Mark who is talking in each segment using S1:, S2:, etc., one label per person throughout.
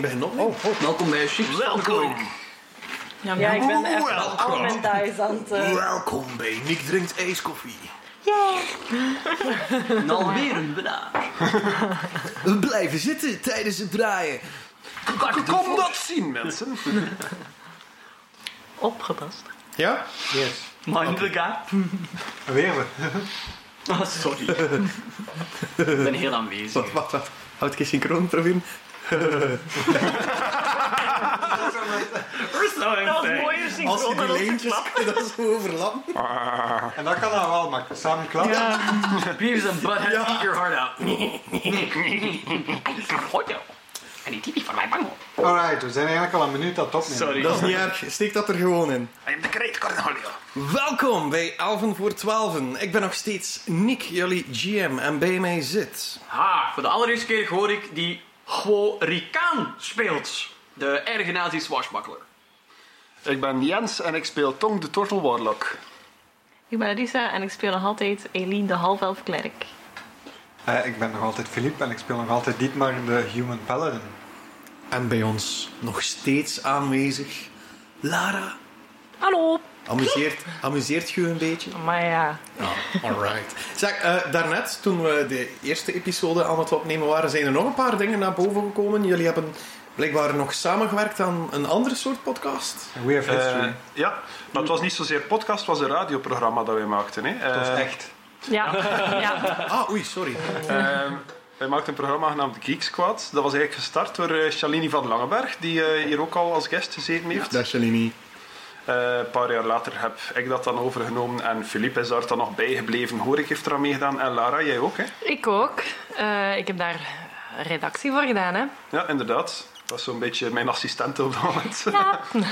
S1: Ben nog niet.
S2: Oh,
S1: Welkom bij Chips. Welkom.
S3: Ja,
S4: Ja, ik ben echt
S1: Welkom.
S5: Oh.
S4: al mijn thuis aan het... eh,
S1: Welkom bij Nick drinkt ijskoffie.
S4: yeah.
S3: ben alweer een winnaar.
S1: We blijven zitten tijdens het draaien. Kom dat zien, mensen.
S3: Opgepast.
S2: Ja?
S3: Mindbega.
S2: Weer we.
S3: Ah, sorry. ik ben heel aanwezig.
S2: Wat, wat, wat? Houd ik eens synchroon proberen?
S3: Dat is mooier
S2: Als je die leentjes dat zo overlam.
S6: En dat kan dan wel, maar samen klappen.
S3: Beavis and Butthead, eat your heart out. En die typie van mij mango.
S6: Alright, we zijn eigenlijk al een minuut aan het opnemen.
S3: Sorry.
S2: Dat is niet erg, steek dat er gewoon in.
S3: I am the great Cornelio.
S2: Welkom bij Alven voor 12. Ik ben nog steeds Nick, jullie GM, en bij mij zit.
S3: Ha, voor de allereerste keer hoor ik die Rikaan speelt. De erge nazi swashbuckler.
S5: Ik ben Jens en ik speel Tong de Turtle Warlock.
S7: Ik ben Elisa en ik speel nog altijd Eline de halfelf klerk.
S6: Eh, ik ben nog altijd Philippe en ik speel nog altijd Dietmar de Human Paladin.
S2: En bij ons nog steeds aanwezig, Lara.
S7: Hallo!
S2: Amuseert, amuseert je een beetje?
S7: Maar ja,
S2: Oh, Alright. Zeg, eh, daarnet, toen we de eerste episode aan het opnemen waren, zijn er nog een paar dingen naar boven gekomen. Jullie hebben blijkbaar nog samengewerkt aan een andere soort podcast.
S6: We have history.
S5: Eh, ja, maar het was niet zozeer podcast, het was een radioprogramma dat wij maakten. Hè.
S6: dat
S5: Eh,
S6: is echt.
S7: ja, ja.
S2: Ah, oei, sorry.
S5: ehm, wij maakten een programma genaamd The Geek Squad. Dat was eigenlijk gestart door eh, Shalini van Langenberg, die eh, hier ook al als guest gezeten heeft.
S2: Dat jullie niet.
S5: Eh, een paar jaar later heb ik dat dan overgenomen en Philippe is daar dan nog bijgebleven. Horik heeft eraan meegedaan en Lara, jij ook hè?
S7: Ik ook. Eh, ik heb daar redactie voor gedaan, hè.
S5: Ja, inderdaad. Dat is zo'n beetje mijn assistent op dat moment.
S7: Ja.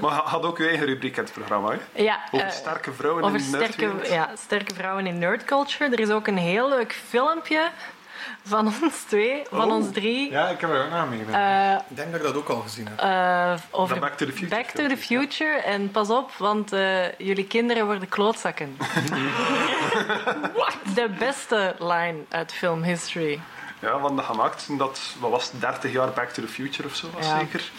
S5: maar had ook uw eigen rubriek in het programma hè?
S7: Ja,
S5: Over
S7: eh,
S5: sterke vrouwen
S7: over
S5: in de nerdwereld.
S7: sterke, ja, sterke vrouwen in nerdculture. Er is ook een heel leuk filmpje van ons twee,
S5: Oh.
S7: van ons drie,
S6: Ja, ik heb er ook naar meegedaan.
S7: eh,
S2: Ik denk dat ik dat ook al gezien heb.
S7: eh, over
S5: Dat Back to the Future
S7: Back to
S5: filmpje,
S7: the Future. En pas op, want eh, jullie kinderen worden klootzakken. De beste line uit film history.
S5: Ja, want dat gemaakt toen dat, wat was het, 30 jaar Back to the Future of zo was
S7: Ja.
S5: zeker.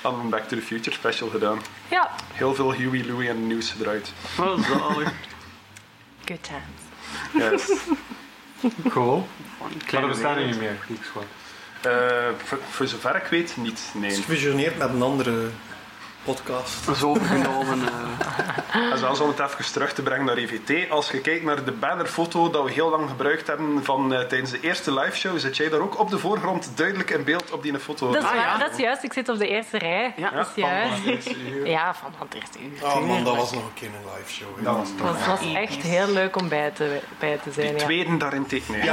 S5: Hadden we een Back to the Future special gedaan.
S7: Ja,
S5: Heel veel Huey, Louie en nieuws gedraaid.
S3: Wat zalig.
S7: good times.
S5: Yes.
S6: Cool. Maar dat bestaat nu niet meer, Geek Squad.
S5: Eh, voor, voor zover ik weet, niet.
S2: Het is
S5: Nee.
S2: gefusioneerd met een andere podcast.
S6: Oh,
S3: Dat is overgenomen. eh.
S5: En zelfs om het even terug te brengen naar EVT. Als je kijkt naar de bannerfoto dat we heel lang gebruikt hebben van eh, tijdens de eerste liveshow, zit jij daar ook op de voorgrond duidelijk in beeld op die foto.
S7: Dat is,
S3: Ah,
S7: waar,
S3: ja.
S7: dat is juist, ik zit op de eerste rij.
S3: Ja.
S7: dat is juist. Ja, van het eerste uur.
S2: Oh man, dat was nog een keer een live show.
S6: Dat was het.
S7: Het was echt heel leuk om bij te, bij te zijn.
S5: Die
S7: ja.
S5: tweede daarentegen. Nee.
S2: Nee,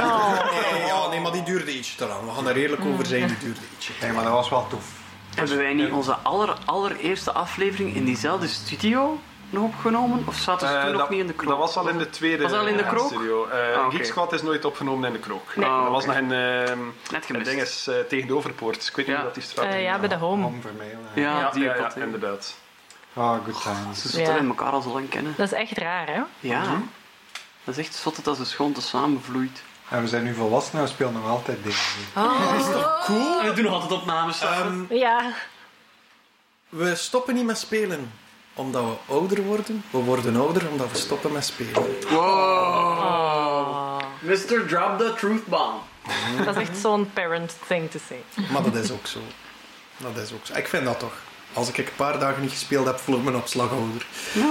S2: ja, nee, maar die duurde ietsje te lang. We gaan er eerlijk over zijn, die duurde ietsje.
S6: Mm. Nee, maar dat was wel tof.
S3: Hebben wij niet onze aller, allereerste aflevering in diezelfde studio nog opgenomen? Of zaten ze
S5: Eh,
S3: toen
S5: dat,
S3: ook niet in de kroon?
S5: dat was al in de tweede
S3: Was dat al in de
S5: eh,
S3: krook?
S5: studio. Eh
S3: Ah, oké.
S5: Geek Squad is nooit opgenomen in de krook.
S3: Nee.
S5: dat was
S3: Ah,
S5: nog in ehm
S3: Net
S5: het
S3: gemist.
S5: ding is eh, tegen de overpoort. Ik weet niet
S3: Ja.
S5: of dat die straat
S7: Eh,
S5: ging.
S7: ja, bij de home.
S6: Om vermelen.
S3: Ja,
S5: ja,
S3: die
S5: ja,
S3: ja,
S5: ja, inderdaad.
S6: Oh, good times.
S3: Ze zitten
S7: Ja.
S3: in elkaar al zo lang kennen.
S7: Dat is echt raar, hè?
S3: Ja.
S5: Mhm.
S3: Dat is echt zot dat ze schoon te samenvloeit.
S6: En we zijn nu volwassenen, we spelen nog altijd dingen.
S2: Cool!
S3: We doen altijd opnames.
S2: Ehm,
S7: Ja.
S2: we stoppen niet met spelen omdat we ouder worden. We worden ouder omdat we stoppen met spelen.
S3: Oh. Mr. Drop the Truth Bomb.
S7: Dat is echt zo'n parent thing to say.
S2: Maar dat is ook zo. Dat is ook zo. Ik vind dat toch. Als ik een paar dagen niet gespeeld heb, vloog mijn opslaghouder.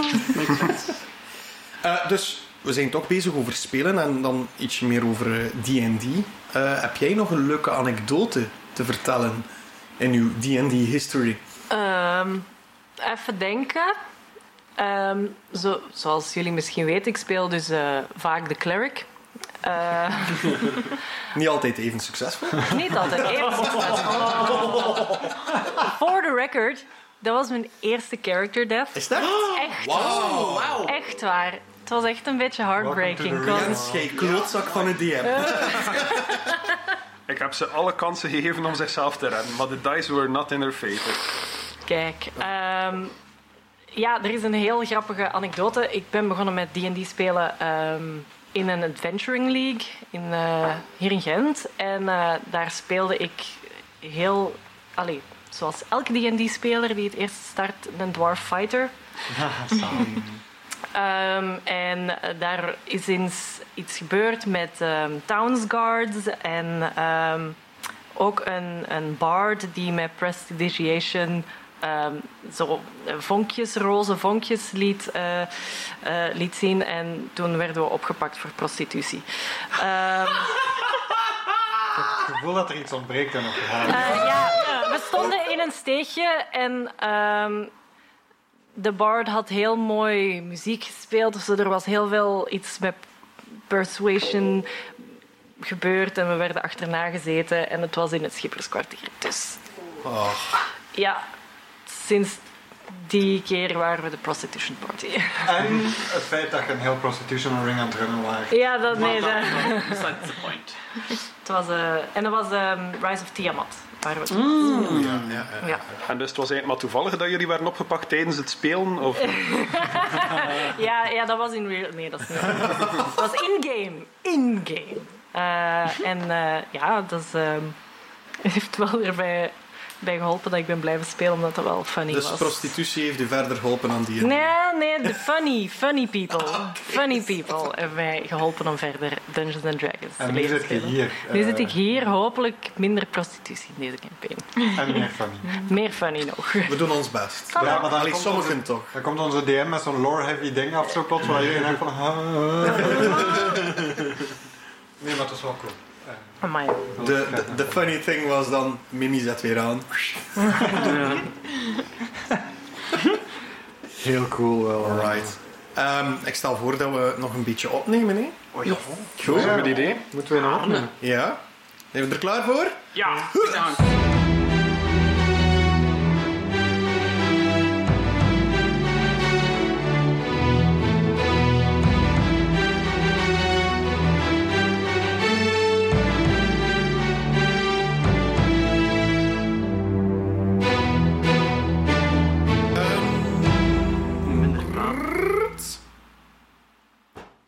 S2: Eh, dus we zijn toch bezig over spelen en dan ietsje meer over eh, D&D. Eh, heb jij nog een leuke anekdote te vertellen in uw D&D history?
S7: Ehm, even denken. Ehm, zo, zoals jullie misschien weten, ik speel dus eh, vaak de cleric. Eh,
S2: Niet altijd even succesvol.
S7: niet altijd even succesvol. For the record, dat was mijn eerste character death.
S2: Is dat? Oh,
S7: Echt, oh,
S2: Wauw!
S7: echt waar. Het was echt een beetje heartbreaking.
S6: Welcome to the
S7: Ik was-
S2: Jens, jij klootzak van een DM.
S5: Ik heb ze alle kansen gegeven om zichzelf te redden, maar de dice were not in her favor.
S7: Kijk, ehm, ja, er is een heel grappige anekdote. Ik ben begonnen met D&D spelen ehm, in een adventuring league in, eh, hier in Gent. En eh, daar speelde ik heel allee, zoals elke D&D-speler die het eerst start, een dwarf fighter. Ehm, en eh, daar is eens iets gebeurd met ehm townsguards en ehm, ook een, een bard die met prestidigitation ehm, zo eh, vonkjes, roze vonkjes liet, eh, eh, liet zien. En toen werden we opgepakt voor prostitutie. Ehm,
S6: het gevoel dat er iets ontbreekt aan het verhaal.
S7: eh, ja, eh, we stonden in een steegje en ehm, de bard had heel mooi muziek gespeeld. Dus er was heel veel iets met persuasion gebeurd en we werden achterna gezeten en het was in het schipperskwartier. Dus ja, sinds die keer waren we de prostitution party.
S6: En het feit dat je een heel prostitution ring aan het runnen was.
S7: ja, dat nee, dat,
S3: That's the point.
S7: het was, eh, en dat was ehm, Rise of Tiamat. Waar we, ja.
S5: En dus het was eigenlijk maar toevallig dat jullie werden opgepakt tijdens het spelen? Of...
S7: Ja, ja, dat was in real. Nee, dat is niet. dat was in-game. In-game. Eh, en eh, ja, dat is, ehm, heeft wel erbij bij geholpen dat ik ben blijven spelen, omdat dat wel funny
S2: Dus
S7: was.
S2: prostitutie heeft u verder geholpen aan die...
S7: Nee, nee, de funny, funny people. Funny people hebben mij geholpen om verder Dungeons and Dragons te
S6: En nu
S7: leren
S6: zit je
S7: spelen.
S6: hier.
S7: Nu
S6: eh,
S7: zit ik hier, hopelijk minder prostitutie in deze campaign.
S6: En meer funny.
S7: Meer funny nog.
S2: We doen ons best.
S6: Ja, maar dan
S2: Allee,
S6: komt
S2: sommigen toch.
S6: Dan komt onze DM met zo'n lore-heavy ding af zo plots, waar jullie denken van... ah, ah, ah. Nee, maar het was wel cool.
S7: Amai.
S2: De, de, de funny thing was dan, Mimi zet weer aan.
S6: Heel cool wel.
S2: Alright. Ehm, ik stel voor dat we nog een beetje opnemen, hè? Goed.
S5: Hebben we het idee?
S6: Moeten we nog opnemen?
S2: Ja. Zijn we er klaar voor?
S3: Ja, bedankt.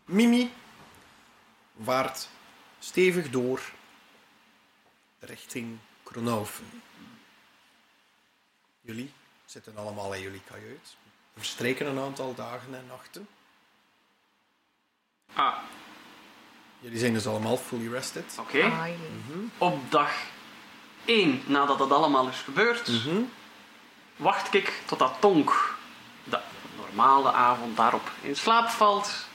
S2: Mimi waart stevig door richting Kronhoven. Jullie zitten allemaal in jullie kajuit. Er verstreken een aantal dagen en nachten.
S3: Ah,
S2: Jullie zijn dus allemaal fully rested.
S3: oké. Mhm. Op dag 1, nadat dat allemaal is gebeurd, wacht ik totdat Tonk de normale avond daarop in slaap valt.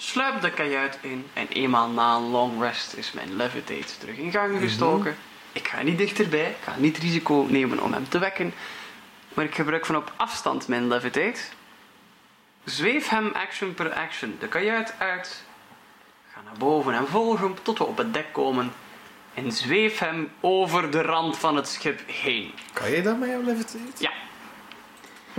S3: Sluip de kajuit in en eenmaal na een long rest is mijn levitate terug in gang gestoken. Ik ga niet dichterbij, ik ga niet risico nemen om hem te wekken. Maar ik gebruik van op afstand mijn levitate. Zweef hem action per action de kajuit uit. Ga naar boven en volg hem tot we op het dek komen. En zweef hem over de rand van het schip heen.
S2: Kan jij dat met jouw levitate?
S3: Ja,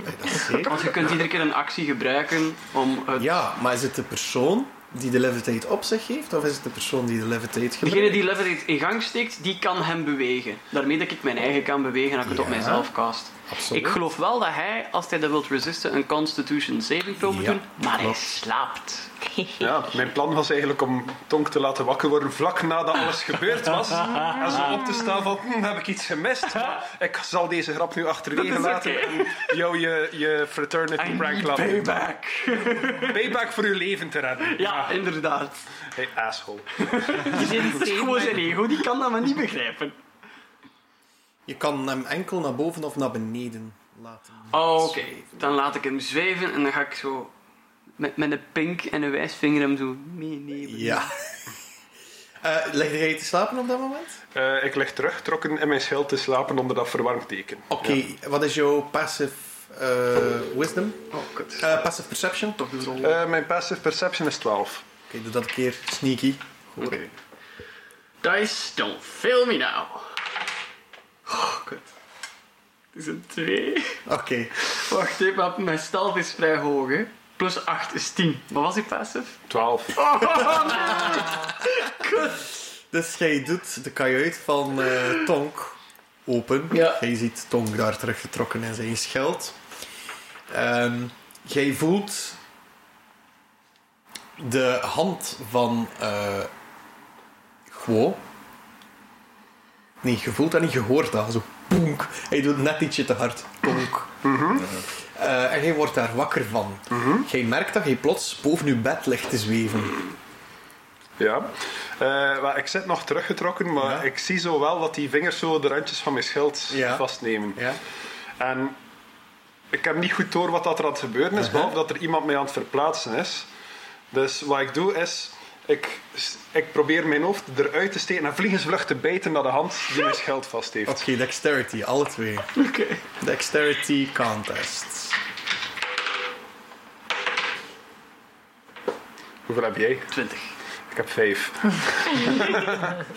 S2: Nee, dat is zeker.
S3: want je kunt iedere keer een actie gebruiken om het...
S2: Ja, maar is het de persoon die de levitate op zich heeft? Of is het de persoon die de levitate
S3: Degene
S2: gebruikt?
S3: die leverage in gang steekt, die kan hem bewegen. Daarmee dat ik mijn eigen kan bewegen en ik het op
S2: Ja.
S3: mijzelf cast.
S2: Absoluut.
S3: Ik geloof wel dat hij, als hij dat wilt resisten, een constitution saving throw moet
S2: Ja,
S3: doen. Maar hij
S2: klopt.
S3: slaapt.
S5: Ja, mijn plan was eigenlijk om Tonk te laten wakker worden vlak nadat alles gebeurd was. En zo op te staan van, hm, heb ik iets gemist? Maar ik zal deze grap nu achterwege
S3: Dat is
S5: laten
S3: oké.
S5: en jou je, je fraternity
S3: I
S5: prank
S3: need
S5: laten doen.
S3: payback.
S5: Payback voor uw leven te redden.
S3: Ja, inderdaad.
S5: Hey, asshole.
S3: Dit is gewoon zijn ego, die kan dat maar niet begrijpen.
S2: Je kan hem enkel naar boven of naar beneden laten.
S3: Oh, Oké, dan laat ik hem zweven en dan ga ik zo met, met een pink en een wijsvinger hem zo meenemen.
S2: Ja. Eh leg jij te slapen op dat moment?
S5: Eh, ik lig teruggetrokken in mijn schild te slapen onder dat verwarmteken.
S2: Oké, wat is jouw passive eh, wisdom?
S3: Oh, kut.
S2: Eh, passive perception? Oké,
S3: Toch een rol.
S5: Eh, mijn passive perception is 12.
S2: doe dat een keer sneaky. Goed.
S3: Oké. Dice, don't fail me now. Oh, kut. Het is een 2.
S2: Oké,
S3: Wacht even, maar mijn stealth is vrij hoog, hè. Plus 8 is 10. Wat was die passive?
S5: 12.
S2: dus jij doet de kajuit van eh, Tonk open.
S3: Ja.
S2: Jij ziet Tonk daar teruggetrokken in zijn schild. Ehm, jij voelt de hand van eh Guo. Nee, je voelt dat niet, je hoort dat. Zo. poenk. Hij doet net ietsje te hard. Poenk. Eh, en jij wordt daar wakker van. Jij merkt dat je plots boven je bed ligt te zweven.
S5: Ja. Eh, maar ik zit nog teruggetrokken, maar
S2: Ja.
S5: ik zie zo wel dat die vingers zo de randjes van mijn schild
S2: Ja.
S5: vastnemen.
S2: Ja.
S5: En ik heb niet goed door wat dat er aan het gebeuren is,
S2: Uh-huh.
S5: behalve dat er iemand mij aan het verplaatsen is. Dus wat ik doe is, ik, ik probeer mijn hoofd eruit te steken en vliegensvlucht te bijten naar de hand die mijn schild vast heeft.
S2: Oké, dexterity, alle twee.
S3: Oké.
S2: Dexterity contest.
S5: Hoeveel heb jij?
S3: 20.
S5: Ik heb vijf.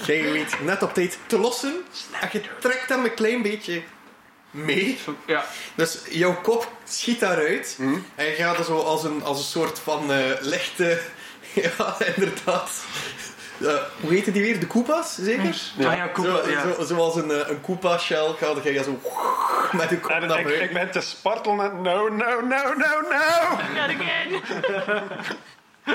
S2: Jij weet net op tijd te lossen. En je trekt hem een klein beetje mee.
S3: Zo- Ja.
S2: Dus jouw kop schiet daaruit. En je gaat er zo als een, als een soort van eh, lichte... ja, inderdaad. Eh, hoe heette die weer? De Koopas, zeker?
S3: Ja, ah, ja, Koopa,
S2: zo,
S3: ja.
S2: zo- zoals een, eh, een Koopa-shell gaat jij zo... Met de kop
S5: En
S2: naar
S5: ik,
S2: buiten.
S5: ik ben te spartelen en no, no, no, no, no! Eh,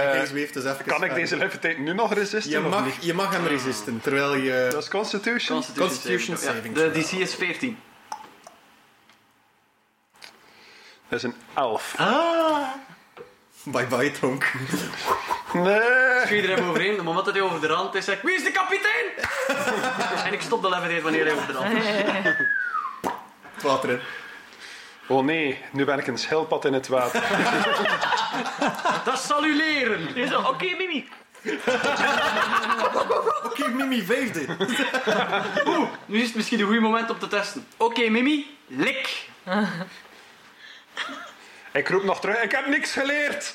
S2: Hij zweeft dus even
S5: kan ik
S2: verder.
S5: deze levitate nu nog resisten
S2: Je
S5: of niet? Ah.
S2: mag, je mag hem resisten, terwijl
S5: Dat
S2: je...
S5: is Constitution.
S2: Constitution
S3: throw, ja.
S2: saving
S3: De DC is 14.
S5: Dat is een elf.
S2: Ah. Bye bye, tronk.
S5: Nee!
S3: Schiet er even overheen. Op het moment dat hij over de rand is, zeg ik, wie is de kapitein? en ik stop de leverheid wanneer hij over de rand is.
S2: Het water in.
S5: Oh nee, nu ben ik een schildpad in het water.
S3: Dat zal u leren.
S7: Zo, Oké, Mimi.
S2: Oké, Oh, Mimi, vijfde.
S3: Oeh, nu is het misschien een goed moment om te testen. Oké, Mimi, lik.
S5: ik roep nog terug, ik heb niks geleerd!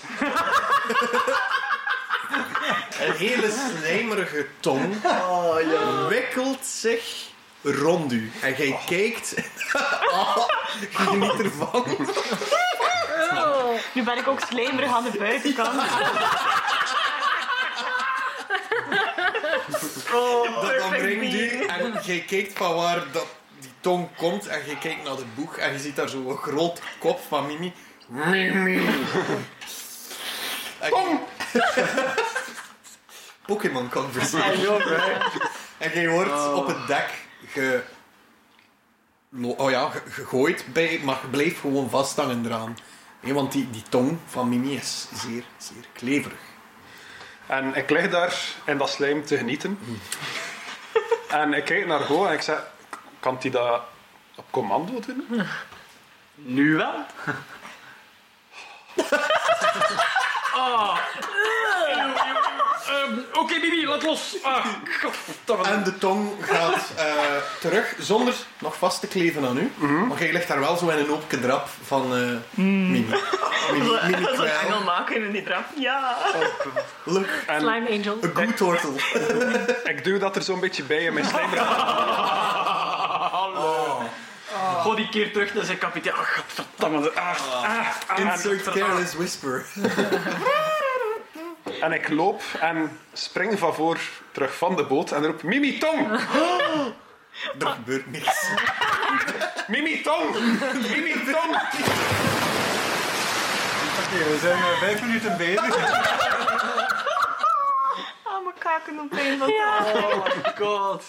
S2: Een hele slijmerige tong wikkelt zich rond u. En jij kijkt... Ah, geniet ervan.
S4: Nu ben ik ook slijmerig aan de buitenkant.
S2: Dat dan brengt u. En jij kijkt van waar dat, die tong komt. En jij kijkt naar de boeg. En je ziet daar zo'n groot kop van Mimi. Mimi. Tong! Pokémon conversation. En jij wordt op het dek ge... lo- Oh ja, ge- gegooid, bij, maar je blijft gewoon vasthangen eraan. Nee, want die, die tong van Mimi is zeer, zeer kleverig.
S5: En ik lig daar in dat slijm te genieten. en ik kijk naar Go en ik zeg, kan die dat op commando doen?
S3: Nu wel. Ah. Ehm, Oké, Mimi, laat los. Ah, godverdomme.
S2: En de tong gaat eh, terug, zonder nog vast te kleven aan u.
S4: Mhm.
S2: Maar jij ligt daar wel zo in een open drap van eh Mimi. Mimi, Mimi
S4: Dat is een
S2: kwijl.
S4: engel maken in die trap. Ja.
S2: Oh, Look,
S7: Slime Angel.
S2: a good turtle.
S5: Ik duw dat er zo'n beetje bij in mijn slijm.
S3: Gooi Oh, die keer terug naar zijn kapitein. Ah, godverdomme. Ah, ah, ah,
S2: Insert
S3: ah.
S2: careless whisper.
S5: En ik loop en spring van voor terug van de boot en roep, Mimi Tong!
S2: Er gebeurt niks.
S5: Mimi Tong! Mimi Tong!
S6: Oké, we zijn eh, vijf minuten bezig.
S4: Ah, mijn kaken op een van
S3: Oh my god.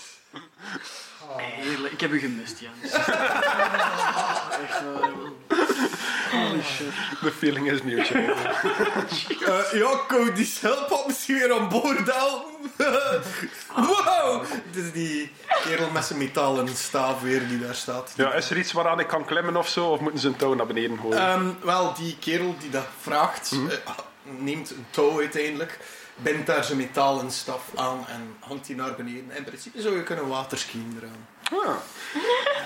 S3: Heerlijk. Ik heb u gemist, Jens. Echt waar, man. Holy shit.
S5: The feeling is new, child.
S2: Eh ja, Cody, die schelpad misschien weer aan boord houden.
S4: Ah.
S2: wow! Het is die kerel met zijn metalen staaf weer die daar staat.
S5: Ja, is er iets waaraan ik kan klimmen of zo? Of moeten ze een touw naar beneden gooien?
S2: Ehm, wel, die kerel die dat vraagt, eh, neemt een touw uiteindelijk, bindt daar zijn metalen staf aan en hangt die naar beneden. In principe zou je kunnen waterskiën eraan.
S5: Ah.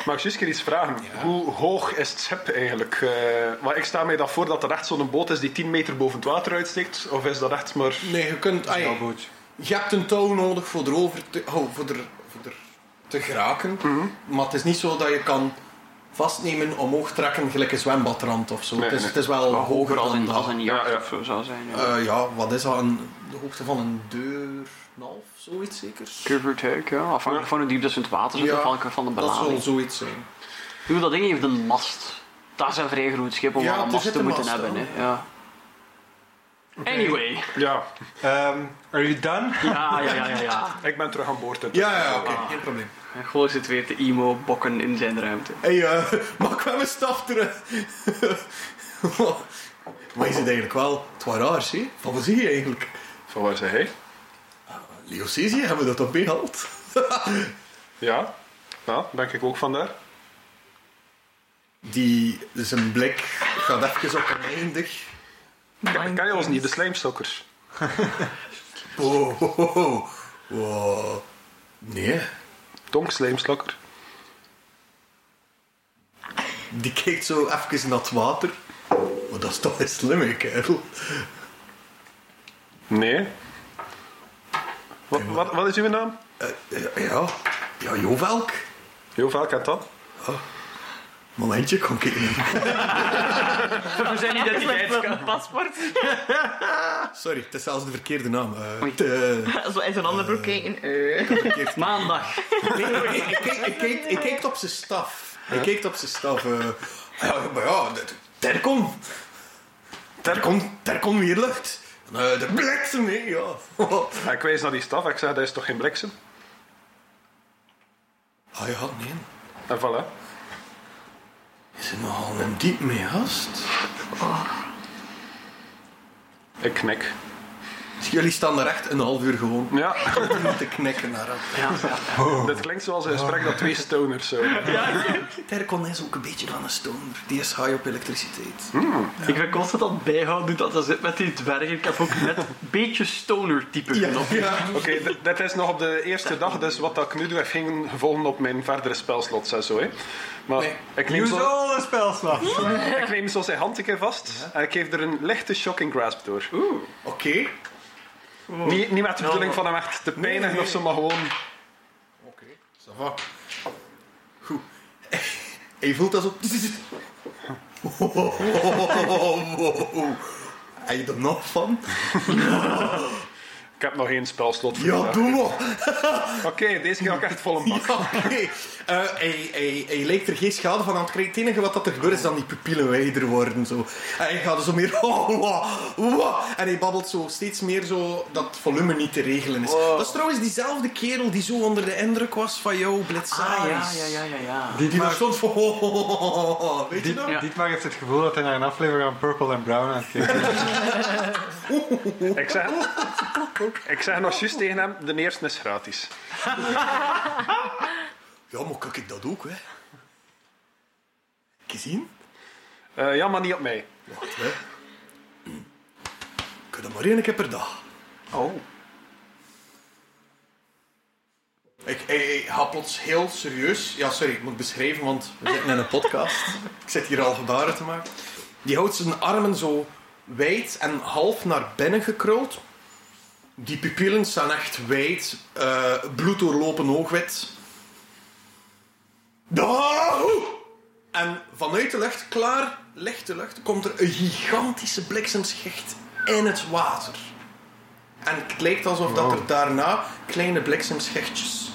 S5: Mag ik juist een keer iets vragen? Hoe hoog is het schip eigenlijk? Eh, maar ik sta mij dan voor dat er echt zo'n boot is die 10 meter boven het water uitsteekt. Of is dat echt maar...
S2: Nee, je kunt... ai,
S6: Snowbootje.
S2: Ah, je hebt een touw nodig voor erover te, oh, voor er, voor er te geraken, maar het is niet zo dat je kan vastnemen, omhoog trekken, gelijk een zwembadrand of zo.
S5: Nee,
S2: het, is,
S5: nee.
S2: het is wel hoger
S3: Als
S2: dan
S3: een,
S2: dat.
S3: als een
S5: Ja,
S3: jacht
S5: ja.
S3: of zo zou zijn. Ja.
S2: Eh, ja, wat is dat? Een, de hoogte van een deur, en half, zoiets zeker?
S3: Covered hek, ja. Afhankelijk van hoe diep dat ze in het water zitten,
S2: Ja,
S3: afhankelijk van de
S2: Dat zal
S3: belading.
S2: zoiets zijn.
S3: Hoe dat ding heeft een mast. Daar zijn vrij groot schip om
S2: Ja,
S3: al een
S2: er
S3: mast
S2: zit
S3: te
S2: een
S3: moeten
S2: mast
S3: hebben.
S2: aan.
S3: Hè. Ja. Anyway.
S5: Ja,
S6: Ehm, are you done?
S3: Ja, ja, ja, ja. ja.
S5: ik ben terug aan boord. hè.
S2: Ja, ja, oké, Ah, geen probleem.
S3: En Goor zit weer te emo-bokken in zijn ruimte.
S2: Hé, hey, eh, mag ik wel mijn staf terug? maar is het eigenlijk wel... Het was raar, zie. Van wat zie je eigenlijk?
S5: Van waar zei hij?
S2: Leo Cesi, hebben we dat toch behaald?
S5: Ja, ja, denk ik ook vandaar.
S2: Die, zijn blik gaat even op oneindig.
S5: Ik ken je ons niet, de slijmstokkers.
S2: Oh, oh, oh, oh. Wow. Nee.
S5: Donk slijmstokker.
S2: Die kijkt zo even naar het water. Maar dat is toch een slimme kerel.
S5: Nee. Wat, wat, wat is uw naam?
S2: Ja, Eh, ja. Ja, joh, welk?
S5: Heel vaak kent dat.
S2: Momentje, kom ik in.
S3: We zijn identiteitskaart.
S4: paspoort.
S2: Sorry, het is zelfs de verkeerde naam. Eh,
S3: Oei.
S2: het, eh,
S4: Zo in zijn andere broek kijken. Eh.
S2: verkeerd.
S3: Maandag.
S2: Nee, ik, keek, ik, keek, ik keek op zijn staf. Ik keek op zijn staf. eh. ja, maar ja, dat- daar komt. Daar komt daar komt weer lucht. En, eh, de bliksem, nee, ja.
S5: En Ah, ik wijs naar die staf. Ik zeg, dat is toch geen bliksem?
S2: Ah ja, nee.
S5: En Ah, voilà.
S2: Is er nogal een diep mee, gast?
S5: Ik knik.
S2: Dus Jullie staan er echt een half uur gewoon
S5: Ja,
S2: te knikken naar elkaar.
S5: dit klinkt zoals een gesprek dat twee stoners zo.
S2: Terkon is ook een beetje van een stoner. Die is high op elektriciteit.
S3: Ik ben constant aan het bijhouden hoe dat dat zit met die dwergen. Ik heb ook net een beetje stoner-type genomen.
S2: Ja.
S5: Oké, d- dit is nog op de eerste dag, dus wat dat ik nu doe heeft geen gevolgen op mijn verdere spelslots en zo. Hè. Maar
S2: Nee.
S5: ik, neem
S6: Use
S5: zo,
S6: all the spells now.
S5: ik neem zo zijn hand een keer vast en ik geef er een lichte shocking grasp door.
S2: Oké.
S5: Niet, niet met de bedoeling van hem echt te pijnigen
S2: Oh. nee.
S5: of zo, maar gewoon...
S2: Oké, ça va. Goed. En je voelt dat zo... Heb je er nog van?
S5: Ik heb nog één spelslot voor
S2: Ja,
S5: vandaag.
S2: doe maar.
S5: Oké, deze keer ga ik echt vol een
S2: Ja,
S5: bak.
S2: oké. Eh, hij, hij, hij lijkt er geen schade van aan te krijgen. Het enige wat dat er gebeurt is dat die pupillen wijder worden. Zo. Eh, En hij gaat er zo meer... Oh, en hij babbelt zo steeds meer zo dat het volume niet te regelen is. Dat is trouwens diezelfde kerel die zo onder de indruk was van jou, Blitzaris.
S3: Ah, ja, ja, ja, ja, ja.
S2: Die daar stond van... weet je
S6: Diet,
S2: dat?
S3: Ja.
S6: Dietmar heeft het gevoel dat hij naar een aflevering van Purple and Brown aan het kijken is.
S5: Ik zeg, ik zeg nog juist tegen hem, de eerste is gratis.
S2: Ja, maar kijk ik dat ook, hè. Gezien?
S5: Eh, ja, maar niet op mij.
S2: Wacht, hè. Hm. Ik heb dat maar één keer per dag.
S5: Oh.
S2: Ik, ik, ik ga plots heel serieus... Ja, sorry, ik moet beschrijven, want we zitten in een podcast. ik zit hier al gebaren te maken. Die houdt zijn armen zo wijd en half naar binnen gekruld. Die pupillen staan echt wijd. eh bloed doorlopen oogwit. Ah! En vanuit de lucht, klaar, lichte lucht, komt er een gigantische bliksemschicht in het water. En het lijkt alsof dat er daarna kleine bliksemschichtjes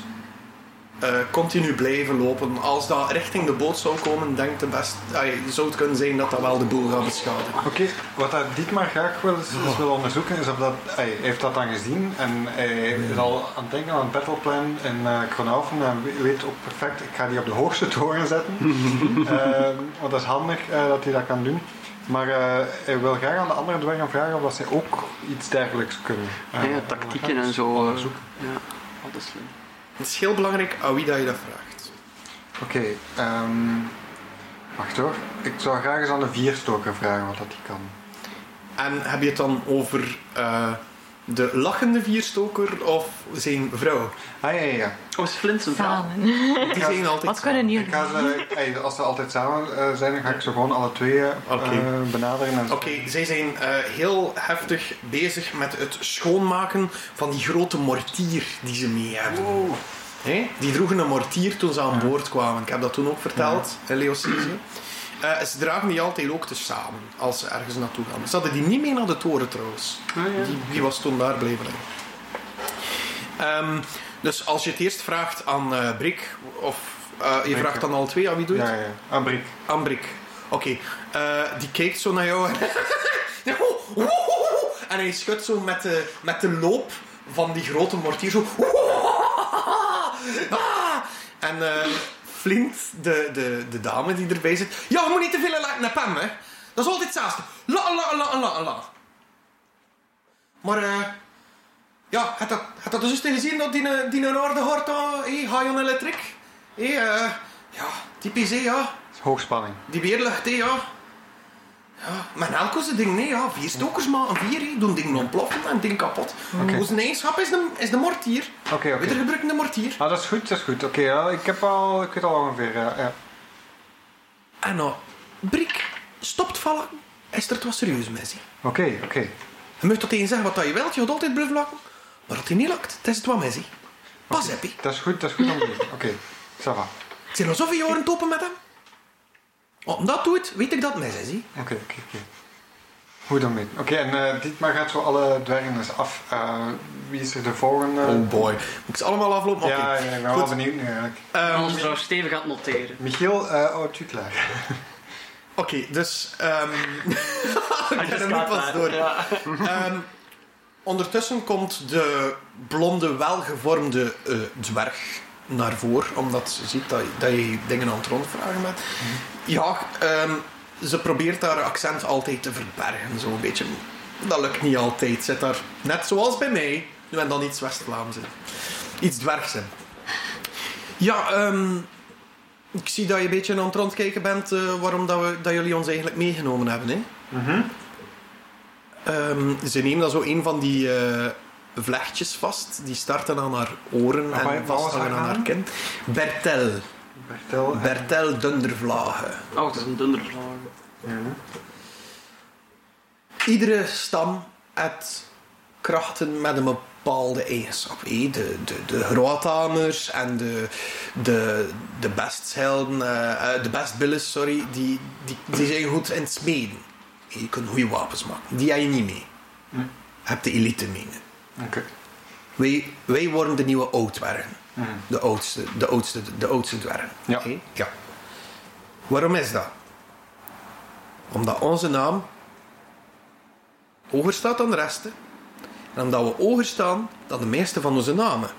S2: eh, continu blijven lopen. Als dat richting de boot zou komen, denkt de best, ai, zou het kunnen zijn dat dat wel de boel gaat beschadigen.
S6: Oké, wat dat Dietmar graag wil, is, is wil onderzoeken, is of dat, hij heeft dat dan gezien en hij is al aan het denken aan het battleplan in uh, Kronhoven en weet ook perfect, ik ga die op de hoogste toren zetten. Ehm, want dat is handig eh, dat hij dat kan doen. Maar eh, hij wil graag aan de andere dwergen vragen of dat zij ook iets dergelijks kunnen. Eh,
S3: Ja, tactieken en zo. eh,
S6: onderzoeken.
S3: Ja, altijd slim.
S2: Het is heel belangrijk aan wie dat je dat vraagt.
S6: Oké, ehm, wacht hoor. Ik zou graag eens aan de vierstoker vragen wat dat die kan.
S2: En heb je het dan over eh, de lachende vierstoker of zijn vrouw?
S6: Ah ja, ja, ja.
S3: Oh, is Flint zijn vrouw?
S4: Samen.
S2: Die zijn altijd
S4: Wat kunnen
S2: samen.
S6: Ik
S4: jullie?
S6: ga ze, hey, als ze altijd samen eh, zijn, dan ga ik ze gewoon alle twee eh,
S2: Oké.
S6: eh, benaderen. En zo.
S2: Oké, zij zijn eh, heel heftig bezig met het schoonmaken van die grote mortier die ze mee hebben. Hè? Die droegen een mortier toen ze aan boord kwamen. Ik heb dat toen ook verteld, hè, Leo Cizio. Eh, ze dragen die altijd ook tezamen als ze ergens naartoe gaan. Ze hadden die niet mee naar de toren trouwens.
S6: Ah,
S2: die, die was toen daar blijven liggen. Ehm, dus als je het eerst vraagt aan eh Brik, of eh, je
S6: Brik,
S2: vraagt
S6: ja.
S2: dan al twee aan wie doet
S6: Ja, ja. Ah, Brik.
S2: Ambrik. Oké, eh, die kijkt zo naar jou. en- En hij schudt zo met de, met de loop van die grote mortier zo. Ah! En eh, flint de, de, de dame die erbij zit. Ja, we moeten niet te veel laten op hem, hè. Dat is altijd hetzelfde. La, la, la, la, la. Maar, eh... ja, heb dat, heb dat dus eens gezien, dat die, eh, die een orde hoort, hè? Hey, Hion Electric. Hé, eh... ja, typisch, hè, ja.
S6: Hoogspanning.
S2: Die weerlucht, hè, ja. Ja, maar elke zijn ding, nee, ja. Vier stokers, maar een vier, hè. Doen dingen ontploffen en ding kapot.
S6: Oké.
S2: Onze eigenschap is de, is de mortier.
S6: Oké, oké.
S2: Weer gebruiken de mortier.
S6: Ah, dat is goed, dat is goed. Oké, ja, ik heb al, ik weet al ongeveer, ja. ja.
S2: En nou, Brik stopt vallen. Is er het wat serieus mee, zie.
S6: Oké, oké.
S2: Je mag tot tegen zeggen wat dat je wilt, je gaat altijd bluff lachen. Maar dat hij niet lakt, dat is het wat mee, zie. Pas heb je.
S6: Dat is goed, dat is goed om te doen. Oké, ça va.
S2: Het zijn alsof je horen topen met hem. Om dat doet, weet ik dat mee, zie.
S6: Oké, oké, oké. Hoe dan mee? Oké, en eh, Dietmar gaat zo alle dwergen eens af. Eh, wie is er de volgende?
S2: Oh, boy. Moet ik ze allemaal aflopen? Oké.
S6: Ja, ja, ik ben wel
S2: Goed.
S6: benieuwd nu eigenlijk.
S2: Ehm,
S3: Alles trouwens stevig gaat noteren.
S6: Michiel, eh oh, Tutelaar.
S2: Oké, dus... ehm ik ben er niet pas door.
S3: Ja.
S2: Ehm, ondertussen komt de blonde, welgevormde eh, dwerg naar voren, omdat ze ziet dat, dat je dingen aan het rondvragen bent. Ja, ehm, ze probeert haar accent altijd te verbergen, zo een beetje. Dat lukt niet altijd. Zit daar, net zoals bij mij, nu en dan iets West-Vlaams in. Iets dwergs in. Ja, ehm, ik zie dat je een beetje aan het rondkijken bent eh, waarom dat, we, dat jullie ons eigenlijk meegenomen hebben, hè?
S6: Mhm.
S2: Ehm, ze neemt dan zo een van die eh, vlechtjes vast. Die starten aan haar oren
S6: Maar waar-
S2: en
S6: waar was
S2: vasthangen
S6: haar
S2: aan haar
S6: naam?
S2: kind. Bertel.
S6: Vertel. eh,
S2: Bertel Dundervlagen.
S3: Oh, het is een dunderslag.
S2: Iedere stam heeft krachten met een bepaalde eigenschap. hè. De, de, de groothamers en de, de, de besthelden, eh, eh, de bestbilles, sorry, die, die, die zijn goed in het smeden. Je kunt goede wapens maken. Die heb je niet mee. Heb de elite mee.
S6: Oké.
S2: Wij, wij worden de nieuwe oudwergen. De oudste, de oudste, de oudste dwergen.
S6: Ja.
S2: Oké? ja. Waarom is dat? Omdat onze naam hoger staat dan de resten. En omdat we hoger staan dan de meeste van onze namen.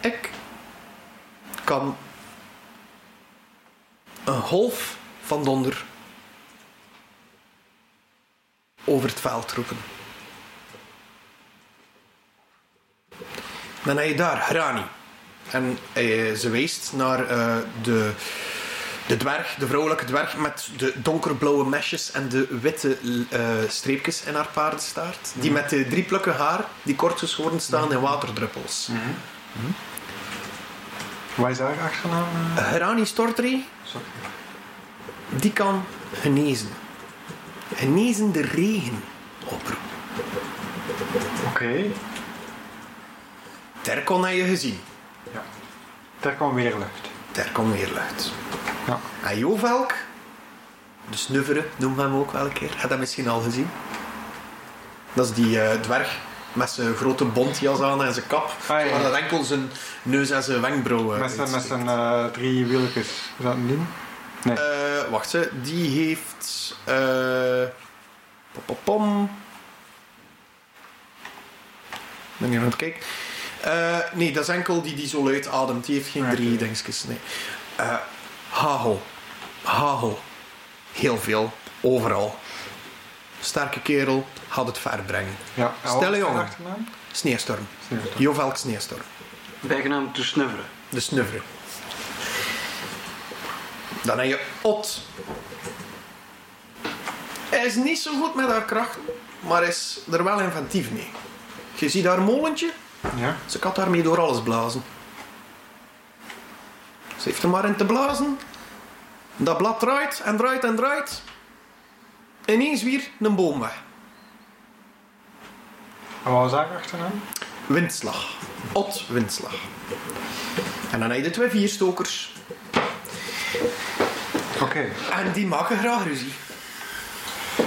S2: Ik kan een golf van donder over het veld roepen. Dan heb je daar Grani. En eh, ze wijst naar eh, de, de dwerg, de vrouwelijke dwerg met de donkerblauwe mesjes en de witte l- eh, streepjes in haar paardenstaart. Die met de drie plukken haar, die kort geschoren staan in waterdruppels.
S6: Waar is haar achternaam? eh?
S2: Grani Stortri,
S6: Sorry.
S2: die kan genezen. Genezen de regen oproepen.
S6: Oké.
S2: Terkon heb je gezien.
S6: Ja. Daar kwam weer lucht.
S2: Terkon weerlucht.
S6: Ja.
S2: En Jovelk, de snufferen noemen we hem ook wel een keer. Heb je dat misschien al gezien? Dat is die eh, dwerg met zijn grote bontjas aan en zijn kap.
S6: Ah, ja, ja.
S2: Maar dat enkel zijn neus en zijn wenkbrauwen
S6: Met zijn, met
S2: uitsteekt.
S6: zijn eh, drie wielkes. Is dat een ding? Nee.
S2: Eh, wacht, ze, die heeft... eh pom, pom, pom. Ik Ben je aan het kijken? Eh, nee, dat is enkel die die zo luid ademt. Die heeft geen
S6: Ah,
S2: drie
S6: oké.
S2: dingetjes, nee. Eh hagel. Hagel. Heel veel. Overal. Sterke kerel. Had het ver brengen.
S6: ja. en wat
S2: Stille
S6: is haar
S2: jongen.
S6: achternaam?
S2: Sneeuwstorm.
S6: Sneeuwstorm.
S2: Jovelk Sneeuwstorm.
S3: Bijgenaamd de snufferen.
S2: De snufferen. Dan heb je Ot. Hij is niet zo goed met haar krachten, maar is er wel inventief mee. Je ziet haar molentje,
S6: Ja.
S2: ze kan daarmee door alles blazen. Ze heeft er maar in te blazen. Dat blad draait en draait en draait. Ineens weer een boom weg.
S6: En wat was haar achternaam?
S2: Windslag. Ot windslag. En dan heb je de twee vierstokers.
S6: Oké.
S2: En die maken graag ruzie.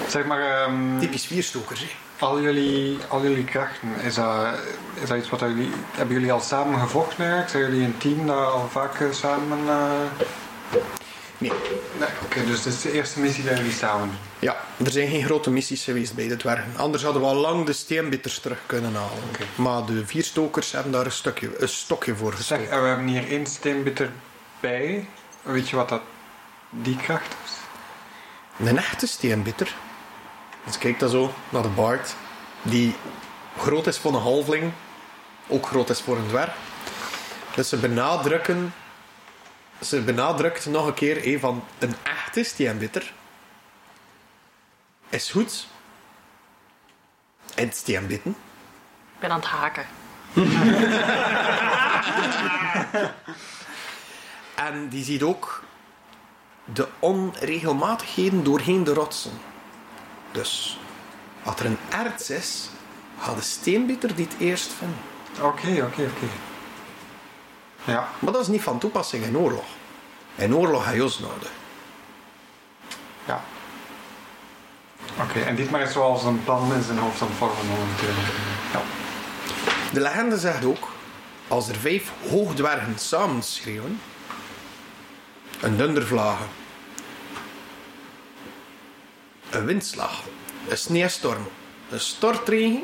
S6: Zeg maar, ehm,
S2: Typisch vierstokers, hè.
S6: al, jullie, al jullie krachten, is dat, is dat iets wat jullie... Hebben jullie al samen gevochten eigenlijk? Zijn jullie een team dat al vaak eh, samen... eh,
S2: Nee.
S6: Nee. dus dit is de eerste missie dat jullie samen doen.
S2: Ja, er zijn geen grote missies geweest bij de dwergen. Anders hadden we al lang de steenbitters terug kunnen halen.
S6: Oké.
S2: Maar de vier stokers hebben daar een, stukje, een stokje voor
S6: Zeg,
S2: gestoken.
S6: en we hebben hier één steenbitter bij. Weet je wat dat die kracht is?
S2: Een echte steenbitter. Dus kijk dan zo naar de baard. Die groot is voor een halfling. Ook groot is voor een dwerg. Dus ze benadrukken... Ze benadrukt nog een keer hé, van een echte steenbitter. Is goed. En steenbitten.
S7: Ik ben aan het haken.
S2: En die ziet ook de onregelmatigheden doorheen de rotsen. Dus als er een erts is, gaat de steenbieter dit eerst vinden.
S6: Oké, oké, oké. Ja,
S2: Maar dat is niet van toepassing in oorlog. In oorlog heb je ons nodig.
S6: ja. Oké, en dit maar is zoals een plan in zijn hoofd aan het vormen momenteel. Ja.
S2: De legende zegt ook, als er vijf hoogdwergen samen schreeuwen, een dundervlagen, een windslag, een sneeuwstorm, een stortregen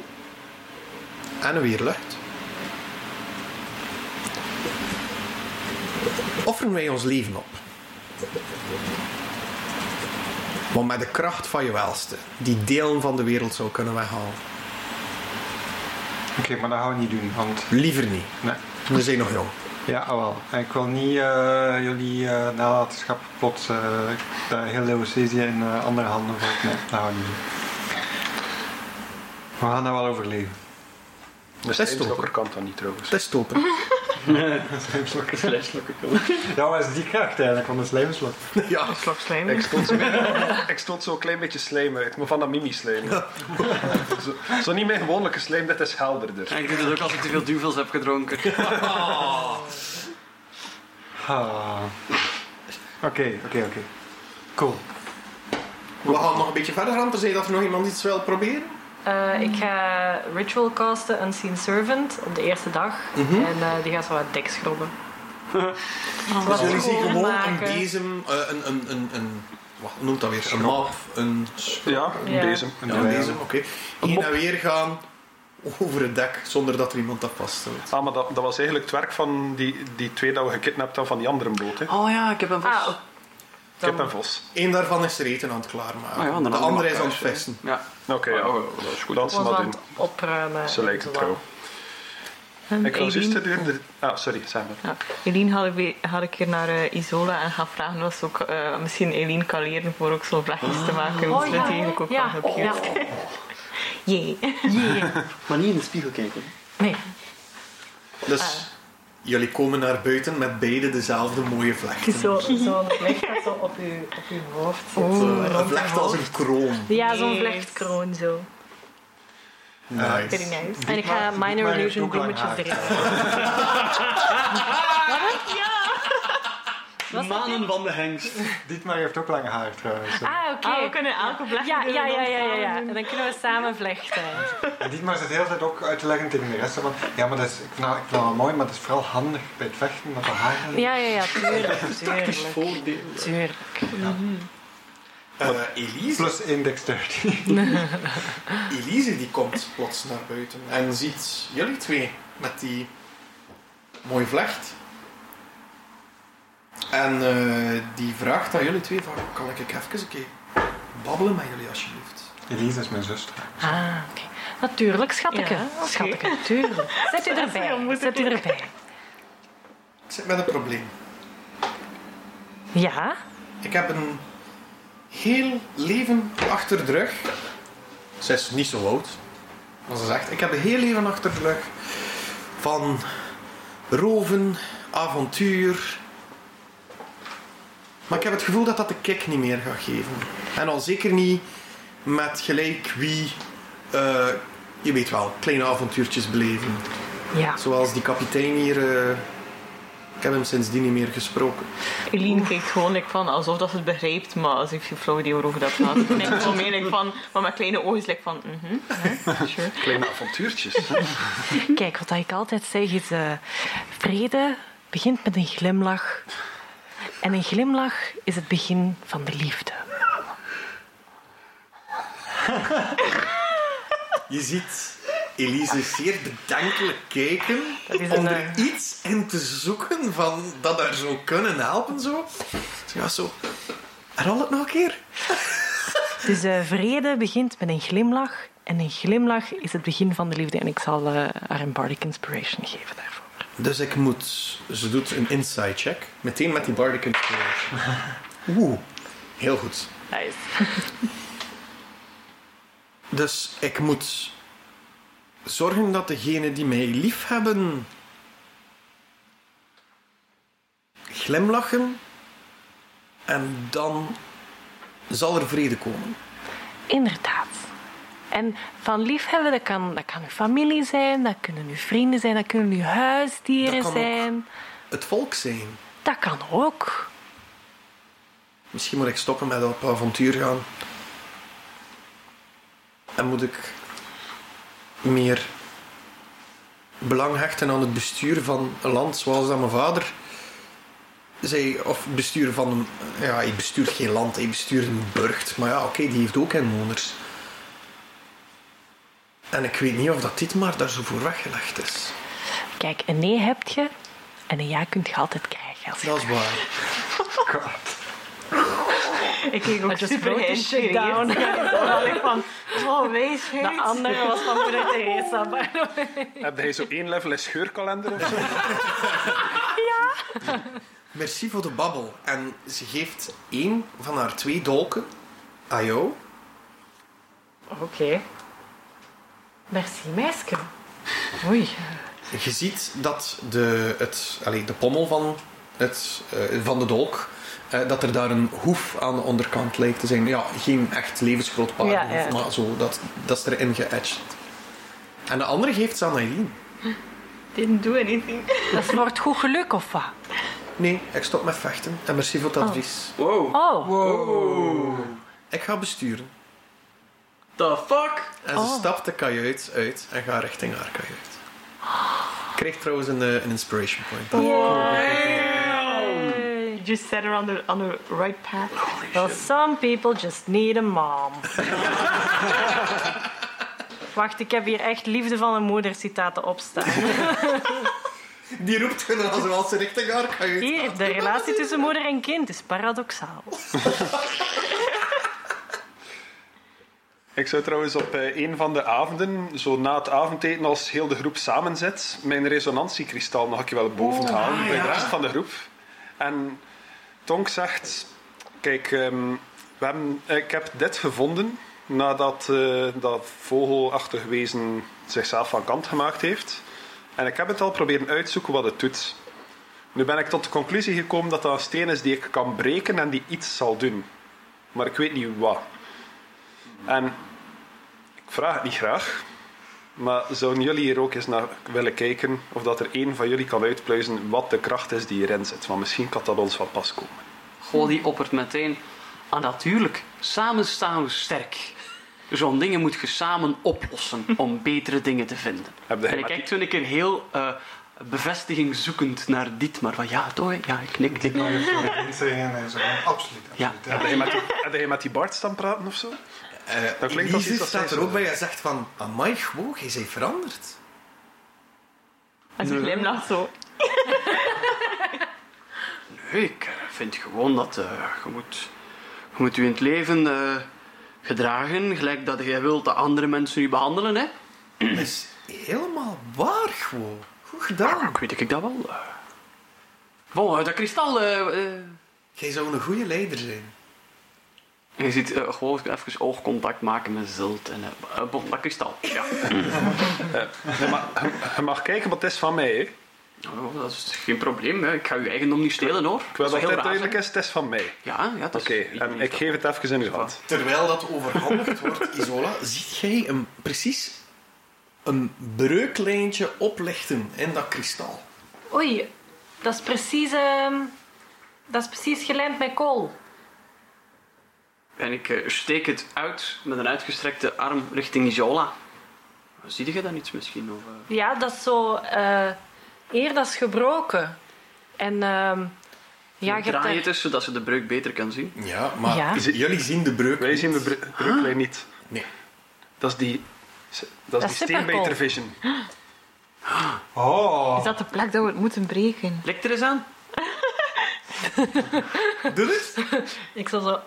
S2: en een weerlucht, offeren wij ons leven op. Maar met de kracht van je welste, die delen van de wereld zou kunnen weghalen.
S6: Oké, maar dat gaan we niet doen, want...
S2: Liever niet,
S6: Nee.
S2: we zijn nog jong.
S6: Ja, ah, wel. En Ik wil niet eh, jullie eh, nalatenschap plots eh de hele Eusesië in eh, andere handen valt. Nee, dat gaan we niet doen. We gaan dat wel overleven.
S5: Dus De
S2: is
S5: steenstokker kan dat niet trouwens.
S2: Het is topen.
S3: Slijmslokken. Slijmslokken.
S6: Ja, wat is die kracht eigenlijk van de slijmslot?
S2: Ja,
S4: Slok slijm.
S5: Ik stond, zo, ik stond zo een klein beetje slijm uit, maar van dat mimi-slijm. zo, zo niet mijn gewone slijm, dit is helderder.
S3: En ik doe het ook als ik te veel duvels heb gedronken.
S6: Ah. Oké, oké, oké. Cool.
S2: we gaan nog een beetje verder aan, tenzij dat er nog iemand iets wil proberen.
S7: Eh, ik ga ritual casten Unseen Servant op de eerste dag.
S3: Mhm.
S7: En eh, die gaat zo wat dek schrobben.
S2: Dus jullie zien
S7: schoon
S2: gewoon een
S7: maken.
S2: bezem, eh, een, een, een, een, wat noemt dat weer? Een map, een, s-
S5: Ja, een
S7: Ja.
S5: bezem.
S2: ja,
S6: Ja,
S2: een
S6: ja.
S2: bezem, oké. Heen en weer gaan over het dek, zonder dat er iemand dat vaststelt.
S5: Ah, maar dat, dat was eigenlijk het werk van die, die twee dat we gekidnapt hebben van die andere boot. Hè.
S3: Oh ja, ik heb een vos.
S7: Ah, oké.
S5: Kip en vos.
S2: Eén daarvan is er eten aan het klaarmaken.
S3: Ah ja, dan
S2: de
S3: hadden we
S2: andere
S3: nog
S2: is aan het
S3: thuis, hè.
S2: vissen.
S3: Ja.
S5: Oké, ja. dat is Ah, oh, goed. Laat ze
S7: was
S5: maar
S7: aan
S5: doen.
S7: het opruimen.
S5: Ze lijken
S7: en zo.
S5: trouw.
S4: En
S5: Ik was juist
S4: Eileen-
S5: te doen. de- Ah, sorry, zeg maar.
S4: Ja, Eline had ik, weer- had ik hier naar eh, Isola en gaan vragen of ze ook eh, misschien Eline kan leren voor ook zo'n vraagjes te maken. Hoe ze dat eigenlijk ook
S7: Oh, ja,
S4: kan gebruiken.
S7: ja.
S4: Jee.
S3: Maar niet in de spiegel kijken.
S4: Nee.
S2: Dus
S7: Ah.
S2: jullie komen naar buiten met beide dezelfde mooie vlechten.
S7: Zo- Zo'n vlecht dat zo op je, op je hoofd zit.
S2: Zo, een vlecht als een kroon.
S7: Ja, zo'n
S4: Yes.
S7: vlechtkroon zo.
S4: Very
S2: Nice.
S4: nice.
S7: En ik ga
S6: maar-
S7: minor
S6: maar je
S7: illusion
S6: hebt ook lang
S7: bloemetjes
S6: haar.
S7: erin.
S3: Manen van de hengst.
S6: Ditmar heeft ook lange haar trouwens.
S7: Ah, oké.
S4: Ah, we kunnen elke vlecht
S7: ja,
S4: doen
S7: ja,
S4: we
S7: ja,
S4: dan
S7: ja, ja, ja.
S4: samen doen.
S7: En dan kunnen we samen vlechten.
S6: En Dietmar zit de hele tijd ook uit te leggen tegen de rest. hè, Want, ja, maar dat is, ik, vind dat, ik vind dat wel mooi, maar dat is vooral handig bij het vechten dat de haar...
S7: Ja, ja, ja. Tuurlijk, tuurlijk.
S3: Voordeel.
S7: Tuurlijk.
S2: Eh, Elise
S6: Plus één dexterity.
S2: Elise die komt plots naar buiten en ziet jullie twee met die mooie vlecht. En eh, die vraagt aan jullie twee van, kan ik even een keer babbelen met jullie alsjeblieft?
S6: Elise is mijn zuster.
S7: Ah, oké. Natuurlijk, schatteke.
S4: Ja, oké.
S7: Schatteke, tuurlijk. Zet u erbij. Zet u erbij.
S2: Ik zit met een probleem.
S7: Ja?
S2: Ik heb een heel leven achter de rug. Ze is niet zo oud. Maar ze zegt, ik heb een heel leven achter de rug. Van roven, avontuur. Maar ik heb het gevoel dat dat de kick niet meer gaat geven. En al zeker niet met gelijk wie... eh, je weet wel, kleine avontuurtjes beleven.
S7: Ja.
S2: Zoals die kapitein hier... eh, ik heb hem sindsdien niet meer gesproken.
S4: Eline kijkt gewoon like, van, alsof dat ze het begrijpt, maar als ik geen flauw idee waarover dat gaat. Ik denk gewoon meer like, van, van mijn kleine oogjes like, van, mhm, ja, sure.
S5: Kleine avontuurtjes. hè.
S7: Kijk, wat ik altijd zeg is... eh vrede begint met een glimlach. En een glimlach is het begin van de liefde.
S2: Je ziet Elise zeer bedenkelijk kijken
S4: Dat is een,
S2: om
S4: eh,
S2: er iets in te zoeken van dat haar zou kunnen helpen. Zo. Ze gaat zo... Herhaal het nog een keer.
S7: Dus eh, vrede begint met een glimlach. En een glimlach is het begin van de liefde. En ik zal eh, haar een bardic inspiration geven daarvoor.
S2: Dus ik moet... Ze doet een inside check. Meteen met die bardic inspiration. Oeh. Heel goed.
S7: Nice.
S2: Dus ik moet zorgen dat degenen die mij lief hebben glimlachen en dan zal er vrede komen.
S7: Inderdaad. En van liefhebben, dat kan, dat kan uw familie zijn, dat kunnen uw vrienden zijn, dat kunnen uw huisdieren
S2: Dat kan ook.
S7: zijn.
S2: Het volk zijn.
S7: Dat kan ook.
S2: Misschien moet ik stoppen met op avontuur gaan. En moet ik meer belang hechten aan het bestuur van een land zoals dat mijn vader zei. Of bestuur van een... Ja, hij bestuurt geen land, hij bestuurt een burcht. Maar ja, oké, die heeft ook inwoners. En ik weet niet of dat dit maar daar zo voor weggelegd is.
S7: Kijk, een nee heb je en een ja kunt je altijd krijgen. Als je-
S2: Dat is waar.
S4: Ik kreeg ook
S7: I just
S4: super
S7: wrote this shit down.
S4: geïnspireerd. Ja, ik van, oh, wees heet.
S7: De andere was van moeder Teresa. maar-
S5: Heb jij zo één level in scheurkalender of zo?
S2: Merci voor de babbel. En ze geeft één van haar twee dolken aan jou.
S7: Oké. Merci, meisje. Oei.
S2: Je ziet dat de, het, allee, de pommel van, het, eh, van de dolk, eh, dat er daar een hoef aan de onderkant lijkt te zijn. Ja, geen echt levensgroot paard,
S7: Ja, ja.
S2: maar zo, dat, dat is erin geëtcht. En de andere geeft ze aan Aileen.
S4: Didn't do anything.
S7: Dat is wordt goed geluk of wat?
S2: Nee, ik stop met vechten en merci voor het advies.
S3: Wow.
S7: Oh,
S5: Oh.
S2: Ik ga besturen.
S3: The fuck?
S2: En
S7: Oh.
S2: ze stapt de kajuit uit en gaat richting haar kajuit. Krijgt trouwens een, eh, een inspiration
S7: Oh.
S2: point.
S4: You just set her on the, on the right path.
S7: well, some people just need a mom. Wacht, ik heb hier echt liefde van een moeder citaten opstaan.
S2: Die roept hun al zoals ze richting haar kajuit
S7: Hier, de relatie tussen moeder en kind is paradoxaal.
S5: Ik zou trouwens op eh, een van de avonden, zo na het avondeten, als heel de groep samenzit, mijn resonantiekristal nog een keer wel boven halen bij de rest van de groep. En Tonk zegt: Kijk, ehm, we hebben, eh, ik heb dit gevonden nadat eh, dat vogelachtig wezen zichzelf van kant gemaakt heeft. En ik heb het al proberen uitzoeken wat het doet. Nu ben ik tot de conclusie gekomen dat dat een steen is die ik kan breken en die iets zal doen. Maar ik weet niet wat. En ik vraag het niet graag, maar zouden jullie hier ook eens naar willen kijken of dat er één van jullie kan uitpluizen wat de kracht is die hierin zit? Want misschien kan dat ons van pas komen.
S3: Goh, die oppert meteen. Ah, natuurlijk. Samen staan we sterk. Zo'n dingen moet je samen oplossen om betere dingen te vinden.
S5: Heb jij
S3: en ik
S5: maar
S3: kijk toen een keer heel eh bevestiging zoekend naar dit, maar van ja, toch? hè? Ja, ik knik, knik.
S6: Maar je hoeft het niet zeggen en zo. Absoluut.
S3: Ja.
S6: absoluut.
S5: Heb jij met die, heb jij met die Bart dan praten of zo?
S2: Eh,
S5: Dat klinkt als
S2: Elise
S5: iets dat
S2: staat
S5: zij
S2: er ook
S5: zou
S2: bij en zegt van... Amai, gewoon, jij bent veranderd.
S4: Als je glimlacht zo.
S3: Nee, ik eh, vind gewoon dat eh, je, moet, je moet je in het leven eh, gedragen, gelijk dat jij wilt dat andere mensen je behandelen. Hè?
S2: Dat is helemaal waar, gewoon. Goed gedaan.
S3: Ik weet ik dat wel. eh. Bon, eh, dat kristal. eh, eh,
S2: Jij zou een goede leider zijn.
S3: je ziet eh, gewoon even oogcontact maken met Zult en eh, eh, bon, dat kristal. Ja.
S5: Nee, maar je, je mag kijken, wat het is van mij. Hè.
S3: Oh, dat is geen probleem. Hè. Ik ga uw eigendom niet stelen hoor.
S5: Ik wil dat
S3: heel
S5: dit
S3: raar
S5: duidelijk is, het is van mij.
S3: zijn. Ja, ja, dat is
S5: Oké, en ik geef het even in uw hand.
S2: Terwijl dat overhandigd wordt, Isola, ziet jij een, precies een breuklijntje oplichten in dat kristal.
S7: Oei, dat is precies, ehm, dat is precies gelijmd met kool.
S3: En ik eh, steek het uit met een uitgestrekte arm richting Isola. Zie je dan iets misschien? Of, eh?
S7: Ja, dat is zo. eh eer dat is gebroken. En ehm, Ja, je hebt
S3: draai
S7: daar-
S3: het eens, zodat ze de breuk beter kan zien.
S2: Ja, maar
S7: Ja.
S2: is het- jullie zien de breuk.
S5: Wij
S2: niet.
S5: zien de bre- breuklijn niet.
S2: Nee.
S5: Dat is die, dat is
S7: is
S5: die
S7: supercool.
S5: steenbeter vision.
S6: Oh,
S4: Is dat de plek dat we het moeten breken?
S3: Lek er eens aan.
S2: Doe het?
S7: Ik zal zo...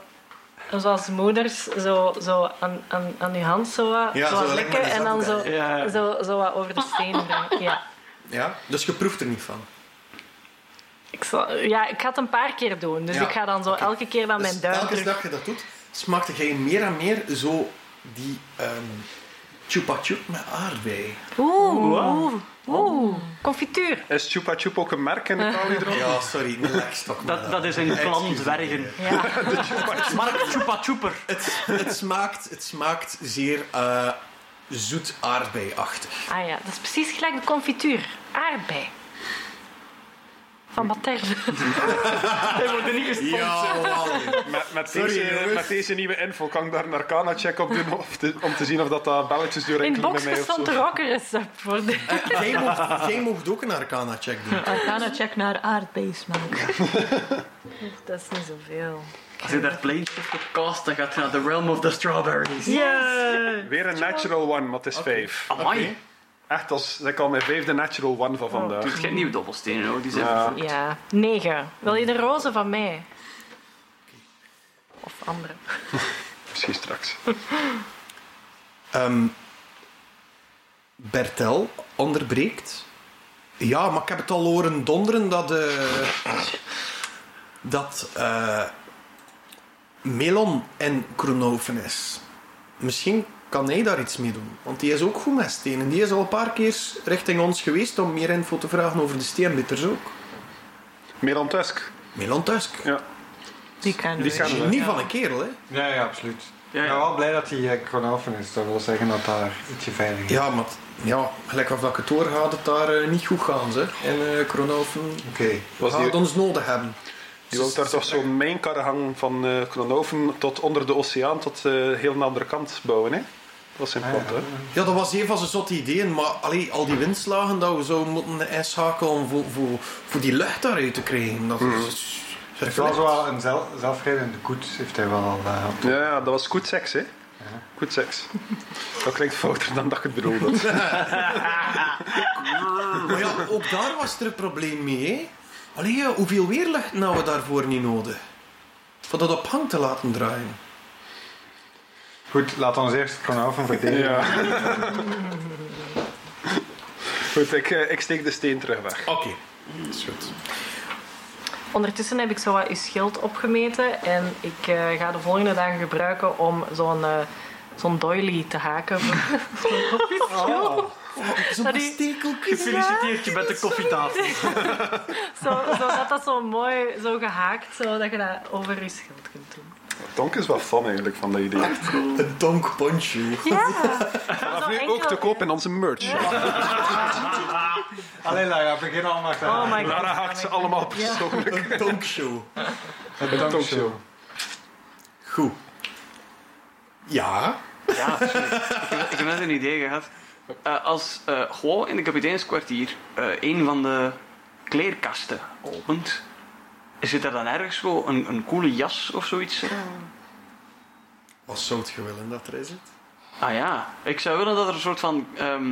S7: Zoals moeders zo, zo aan, aan, aan je hand zo wat,
S2: Ja,
S7: zo wat
S2: zo lekker
S7: likken en dan
S2: is
S7: zo,
S2: dat
S3: Ja.
S7: zo, zo wat over de steen brengen. Ja.
S2: Ja, dus je proeft er niet van.
S7: Ik zal, ja, ik ga het een paar keer doen. Dus
S2: Ja.
S7: ik ga dan zo
S2: Oké.
S7: elke keer dan mijn
S2: Dus
S7: duim
S2: Elke
S7: terug-
S2: dag dat je dat doet, smaakte jij meer en meer zo die ehm chupa chup met aardbei.
S7: Oeh, oeh, oeh. Confituur.
S5: Is Chupa Chup ook een merk in Italië erop?
S2: Ja, sorry, een lekstok.
S3: Dat, dat is een klant dwergen.
S7: Ja.
S3: Mark Chupa Chuper.
S2: Het, het, smaakt, het smaakt zeer eh, zoet aardbeiachtig.
S7: Ah ja, dat is precies gelijk de confituur. Aardbei. Van Materne.
S3: Hij wordt er niet gesponsord.
S2: Ja, man.
S5: Met, met,
S2: Sorry,
S5: deze,
S2: jongens.
S5: met deze nieuwe info kan ik daar een arcana-check op doen of te- om te zien of dat, dat belletjes
S7: In de
S5: doorheen
S7: box
S5: met mij of
S7: bestond
S5: zo.
S7: er ook een recept voor. De...
S2: jij, mocht, jij mocht ook een arcana-check doen.
S4: Arcana check naar aardbeismaak.
S7: Dat is niet zoveel.
S3: Als je daar plaintjes voor cast, dan gaat je naar de realm of the strawberries.
S5: Weer een natural one, maar het is vijf.
S3: Amai.
S2: Oké.
S5: Echt, als, ik al mijn vijfde natural one van vandaag.
S3: Doet geen nieuwe dobbelstenen hoor, die zijn
S5: Ja.
S3: vervroegd.
S7: Ja, negen. Wil je de roze van mij? Of andere.
S5: Misschien straks.
S2: Ehm, Bertel onderbreekt. Ja, maar ik heb het al horen donderen dat... eh, dat eh, Melon en Kronoven is. Misschien kan hij daar iets mee doen. Want die is ook goed met stenen. Die is al een paar keer richting ons geweest om meer info te vragen over de steenbitters ook.
S5: Meer dan Tusk.
S2: Melon Tusk.
S5: Ja.
S4: Die kennen
S5: Die
S4: we.
S5: kennen we.
S2: Niet van een kerel, hè?
S6: ja, ja, absoluut.
S3: Ja,
S6: Ik
S3: ja.
S6: ben wel blij dat die eh, Kronoven is. Dat wil zeggen dat daar ietsje veiliger is.
S2: Ja, maar t- ja, gelijk of dat ik het hoor, gaat het daar eh, niet goed gaan, zeg. En eh Kronoven
S6: Oké.
S5: Was
S2: gaat
S5: die-
S2: ons nodig hebben.
S5: Je wilt daar toch zo'n mijnkar hangen van eh Kronoven tot onder de oceaan tot eh, heel naar de andere kant bouwen, hè? Dat was zijn
S6: Ah,
S5: plan,
S6: ja.
S5: hè?
S2: Ja, dat was een van zijn zotte ideeën, maar allee, al die windslagen dat we zo moeten inschakelen om voor, voor, voor die lucht daaruit te krijgen. Dat is,
S6: Het is wel zo wel een zel, zelfrijdende koets, heeft hij wel al. eh, op-
S5: Ja, ja, dat was goed seks, hè? Goed seks. Dat klinkt fouter dan dat ik het bedoelde.
S2: Maar ja, ook daar was er een probleem mee. Hè? Allee, ja, hoeveel weerlucht nou we daarvoor niet nodig? Voor dat op hang te laten draaien.
S6: Goed, laat ons eerst Kronoven verdedigen.
S5: Ja. Goed, ik, eh, ik steek de steen terug weg.
S2: Oké, is goed.
S7: Ondertussen heb ik zo wat uw schild opgemeten en ik eh, ga de volgende dagen gebruiken om zo'n eh zo'n doily te haken. Oh.
S2: Zo'n
S6: Oh.
S7: Dat die-
S2: stekeltjes.
S3: Gefeliciteerd je met de koffietafel.
S7: zo, zo, dat dat zo mooi zo gehaakt, zo dat je dat over je schild kunt doen.
S5: Donk is wel fan eigenlijk van dat idee.
S2: Een donk poncho.
S5: Vanaf
S7: Zo
S5: nu
S7: enkel-
S5: ook te koop in onze merch.
S6: Allee, Lara, begin al maar.
S7: Oh my god.
S5: Lara haakt ze allemaal persoonlijk.
S2: Een donkshow.
S6: Het tankshow.
S2: Goed. Ja.
S3: Ja, sorry. ik, heb, ik heb net een idee gehad. Eh, als eh Guo in de kapiteinskwartier eh, een van de kleerkasten opent, zit er dan ergens zo een, een coole jas of zoiets?
S2: Wat zou je willen dat er is? Het?
S3: Ah ja, ik zou willen dat er een soort van ehm,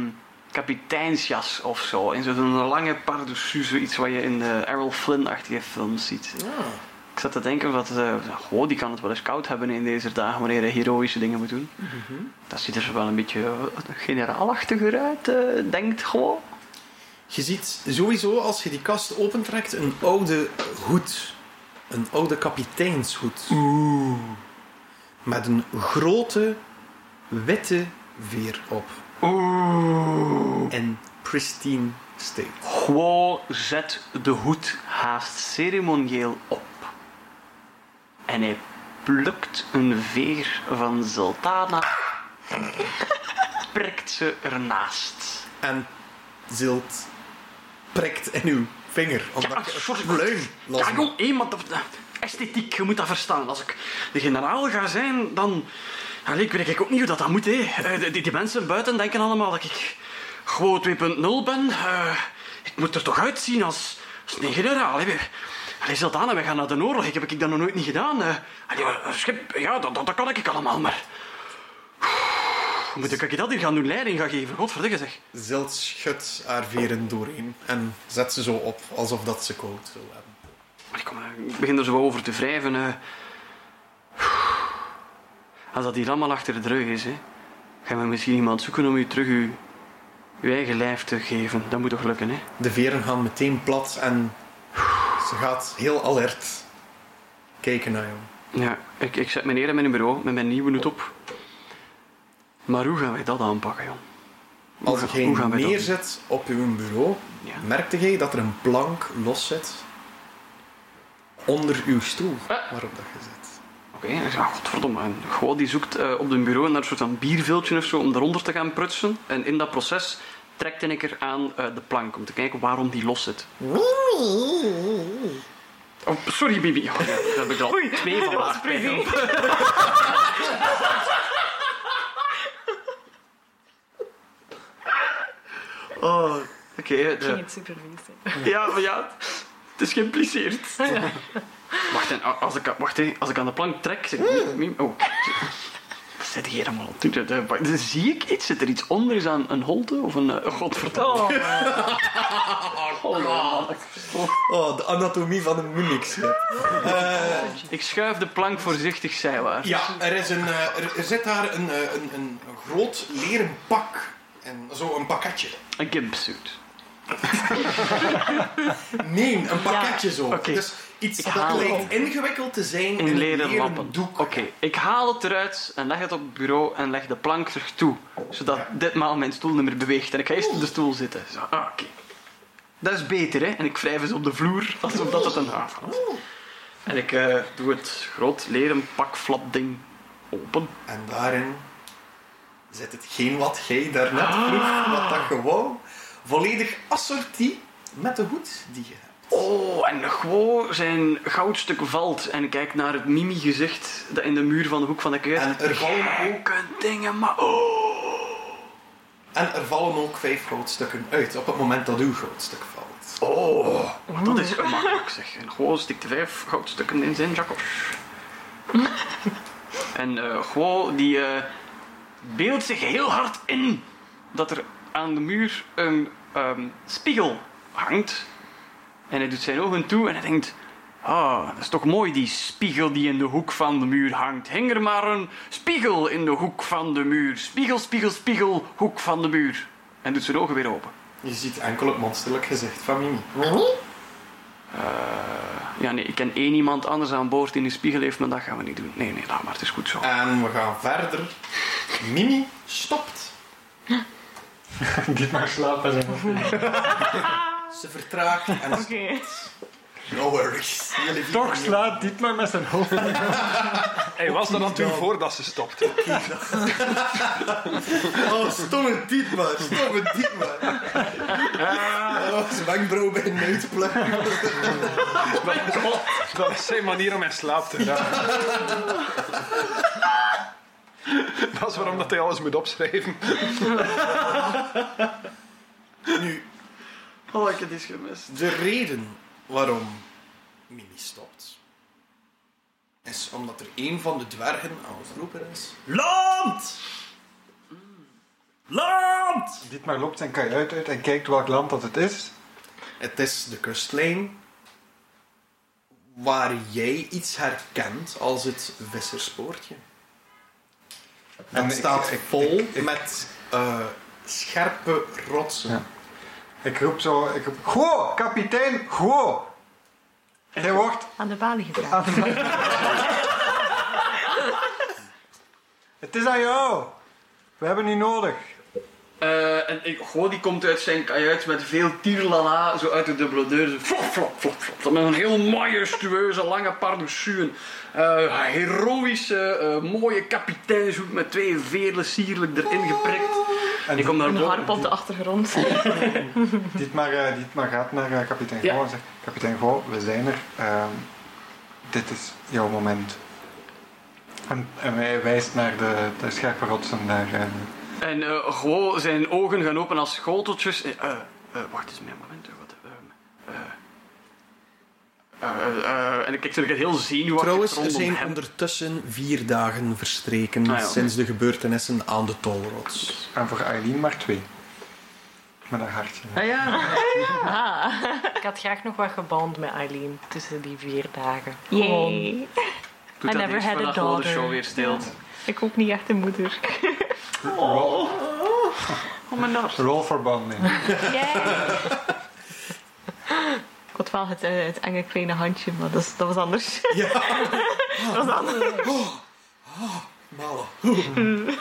S3: kapiteinsjas of zo in zo'n lange pardessus, zoiets wat je in de Errol Flynn-achtige films ziet.
S2: Ja.
S3: Ik zat te denken, wat, eh, goh, die kan het wel eens koud hebben in deze dagen wanneer hij heroïsche dingen moet doen. Dat ziet er zo wel een beetje eh, generaalachtiger uit, eh, denkt gewoon.
S2: Je ziet sowieso als je die kast opentrekt een oude hoed. Een oude kapiteinshoed. Oeh. Met een grote witte veer op. Oeh. En pristine state.
S3: Guo zet de hoed haast ceremonieel op. En hij plukt een veer van Zoltana en prikt ze ernaast.
S2: En zilt prikt in uw vinger. Omdat je
S3: sorry.
S2: een luim los
S3: Ja, jong, iemand. dat- dat- Esthetiek, je moet dat verstaan. Als ik de generaal ga zijn, dan. Allee, ik weet ook niet hoe dat, dat moet, hè. Eh, Die, die mensen buiten denken allemaal dat ik. gewoon 2.0 ben. Eh, ik moet er toch uitzien als. Dat is niet generaal. hè. We- Allee, Zeldana, we gaan naar de oorlog. Ik heb ik dat nog nooit niet gedaan. eh. Allee, maar, schip, ja, dat, dat, dat kan ik allemaal, maar... Hoe moet ik dat hier gaan doen? Leiding gaan geven? Godverdikke zeg.
S2: Zilt schudt haar veren doorheen en zet ze zo op, alsof dat ze koud wil hebben.
S3: Maar ik, kom, eh, ik begin er zo over te wrijven. eh. Als dat hier allemaal achter de rug is, hè, gaan we misschien iemand zoeken om u terug uw, uw eigen lijf te geven. Dat moet toch lukken, hè?
S2: De veren gaan meteen plat en ze gaat heel alert kijken naar jou.
S3: Ja, ik, ik zet mijn neer in mijn bureau met mijn nieuwe hoed op. Maar hoe gaan wij dat aanpakken, jong?
S2: Als
S3: ga-
S2: jij
S3: hoe gaan wij dat
S2: neerzet op uw bureau,
S3: Ja.
S2: merkte jij dat er een plank los zit onder uw stoel
S3: Eh?
S2: waarop dat je zit.
S3: Oké, ik zeg, ah, godverdomme. En Goh, die zoekt eh, op een bureau naar een soort van bierviltje of zo om eronder te gaan prutsen. En in dat proces trekte ik er aan eh, de plank om te kijken waarom die los zit. Oh, sorry, Bibi. Oh, ja, daar heb ik al twee van haar. Oh, oké. de-
S7: Niet super vies. hè.
S3: ja, maar ja, het is geïmpliceerd. Wacht, en a- als ik, wacht, hè, als ik aan de plank trek, zit miem, miem- Oh. Wat zit hier allemaal op? te- de- de- wa- de- Zie ik iets? Zit er iets onder? Is aan een holte of een... eh, godverdomme.
S4: Oh,
S2: Oh, de anatomie van een munix.
S3: Ik schuif de plank voorzichtig zijwaarts.
S2: Ja, er, is een, eh, er, er zit daar een, eh, een, een groot leren pak. En zo een pakketje.
S3: Een gimpsuit.
S2: Nee, een pakketje zo.
S3: oké.
S2: Dus iets
S3: Ik
S2: dat
S3: haal
S2: lijkt
S3: het.
S2: ingewikkeld te zijn in,
S3: In
S2: een
S3: leren lappen.
S2: doek.
S3: Oké, ik haal het eruit en leg het op het bureau en leg de plank terug toe. Zodat ditmaal mijn stoel niet meer beweegt. En ik ga eerst op de stoel zitten. Zo, ah, oké. Dat is beter, hè? En ik wrijf eens op de vloer, alsof dat het een haven was. En ik eh, doe het groot leren pakflapding open.
S2: En daarin zit hetgeen wat jij daarnet
S6: Ah.
S2: vroeg, wat dat gewoon volledig assortie met de hoed die je hebt.
S3: Oh, en gewoon zijn goudstuk valt en ik kijk naar het mimi-gezicht dat in de muur van de hoek van de keuken.
S2: En er vallen ook,
S3: Ook een ding, maar oh.
S2: en er vallen ook vijf grootstukken uit op het moment dat uw grootstuk valt.
S3: Oh, maar dat is gemakkelijk zeg. En gewoon stikt de vijf goudstukken in zijn jackop. en eh gewoon die eh, beeldt zich heel hard in dat er aan de muur een ehm, spiegel hangt. En hij doet zijn ogen toe en hij denkt... Ah, dat is toch mooi, die spiegel die in de hoek van de muur hangt. Hing er maar een spiegel in de hoek van de muur. Spiegel, spiegel, spiegel, hoek van de muur. En doet zijn ogen weer open.
S2: Je ziet enkel het monsterlijk gezicht van Mimi.
S3: Eh, Ja, nee, ik ken één iemand anders aan boord die een spiegel heeft, maar dat gaan we niet doen. Nee, nee, laat maar, het is goed zo.
S2: En we gaan verder. Mimi stopt.
S6: Dit maar slapen zijn.
S2: Ze vertraagt en
S4: oké.
S2: no worries. Jullie
S6: Toch slaat dit maar met zijn hoofd.
S5: Hij was er natuurlijk voor dat ze stopte.
S2: Oh, stomme diep man, stomme diep man. Oh, zijn wenkbrauw bij een uitplukken.
S5: Dat is zijn manier om in slaap te gaan. Dat is waarom dat hij alles moet opschrijven.
S2: Nu,
S3: Oh, ik heb dit gemist.
S2: de reden waarom Mimi stopt, is omdat er een van de dwergen aan het roepen is. Land! Land!
S6: Dit maar loopt zijn kajuit uit en kijkt welk land dat het is.
S2: Het is de kustlijn waar jij iets herkent als het visserspoortje.
S6: En
S2: Het
S6: ik-
S2: staat
S6: ik-
S2: vol
S6: ik- ik-
S2: met eh, scherpe rotsen.
S6: Ja. Ik roep zo, ik roep, Go, kapitein, go! Hij wordt
S4: Aan de balie gedragen.
S6: aan de Het is aan jou. We hebben u nodig.
S3: Eh, en ik, goh, die komt uit zijn kajuit met veel tierlala, zo uit de dubbele deur. Zo flop, flop, flop, flop. Met een heel majestueuze, lange pardessuën. Eh heroïsche, eh, mooie kapiteinshoed met twee veerle sierlijk erin geprikt. En die komt naar
S4: Een
S3: boven.
S4: harp op de achtergrond.
S6: Dit maar, eh, dit maar gaat naar eh, kapitein
S3: Ja.
S6: Go en zegt, kapitein Go, we zijn er. Ehm, dit is jouw moment. En, en hij wijst naar de, de scherpe rotsen daar. eh.
S3: En eh gewoon zijn ogen gaan open als schoteltjes. Eh, eh, eh, wacht eens, mijn moment. eh, Wat, ehm, eh, eh, en ik kijk natuurlijk heel zenuwachtig
S2: Trouwens, er
S3: rondom
S2: zijn
S3: hem.
S2: ondertussen vier dagen verstreken
S3: Ah, ja.
S2: sinds de gebeurtenissen aan de tolrots.
S6: En voor Eileen maar twee. Met een hartje.
S3: Ah, ja.
S7: Ik had graag nog wat geband met Eileen tussen die vier dagen. Gewoon.
S4: Yay.
S3: Doet
S7: I
S3: dat
S7: never
S3: eerst
S7: had a
S3: voordat je wel de
S7: daughter.
S3: show weer stilt.
S4: Ik ook niet echt een moeder.
S6: Roll,
S3: Oh, mijn dag.
S6: roll for bonding.
S4: Ik had wel het, eh, het enge kleine handje, maar dat, is- dat was anders. dat was anders.
S2: Malen.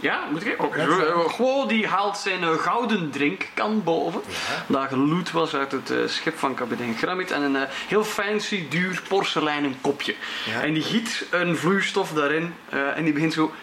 S3: Ja, moet ik? Oké.
S2: eh,
S3: Okay. die haalt zijn eh, gouden drinkkan boven. Daar geloot was uit het eh, schip van kapitein Grammit. En een eh, heel fancy, duur porseleinen kopje.
S2: Ja.
S3: En die giet een vloeistof daarin. eh, en die begint zo...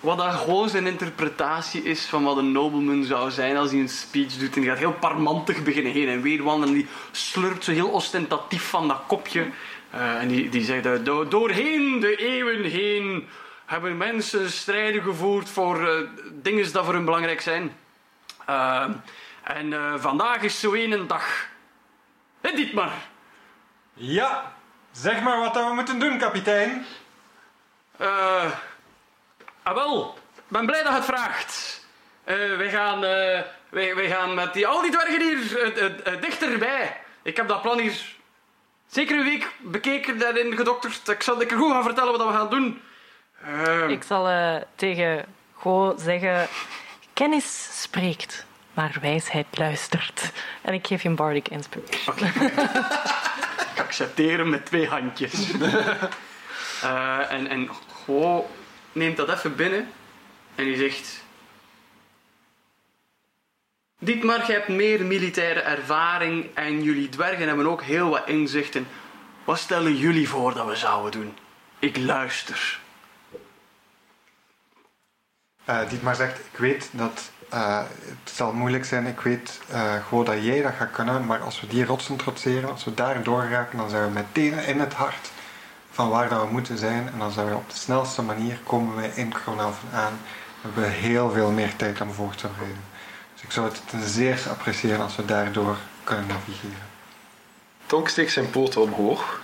S3: Wat daar gewoon zijn interpretatie is van wat een nobleman zou zijn als hij een speech doet. En die gaat heel parmantig beginnen heen en weer wandelen. En die slurpt zo heel ostentatief van dat kopje. Eh, en die, die zegt, eh, "Do- doorheen de eeuwen heen hebben mensen strijden gevoerd voor eh, dingen dat voor hun belangrijk zijn. Eh, en eh, vandaag is zo één een dag. En dit maar.
S6: Ja, zeg maar wat dat we moeten doen, kapitein.
S3: Eh. ah wel, ik ben blij dat je het vraagt. Eh, wij, gaan, eh, wij, wij gaan met die, al die dwergen hier eh, eh, eh, dichterbij. Ik heb dat plan hier zeker een week bekeken en ingedokterd. Ik zal het er goed gaan vertellen wat we gaan doen. Ehm,
S7: Ik zal eh, tegen Go zeggen: kennis spreekt, maar wijsheid luistert. En ik geef hem Bardic Inspiration.
S3: Ik accepteer hem met twee handjes. Eh, en, en Go neemt dat even binnen en die zegt... Dietmar, je hebt meer militaire ervaring en jullie dwergen hebben ook heel wat inzichten. Wat stellen jullie voor dat we zouden doen? Ik luister.
S6: Eh Dietmar zegt, ik weet dat eh, het zal moeilijk zijn. Ik weet eh, gewoon dat jij dat gaat kunnen. Maar als we die rotsen trotseren, als we daar doorraken, dan zijn we meteen in het hart van waar dat we moeten zijn. En dan zijn we op de snelste manier komen we in Kronhaven aan. We hebben heel veel meer tijd om voor te bereiden. Dus ik zou het ten zeerste appreciëren als we daardoor kunnen navigeren.
S5: Tonk steekt zijn poten omhoog.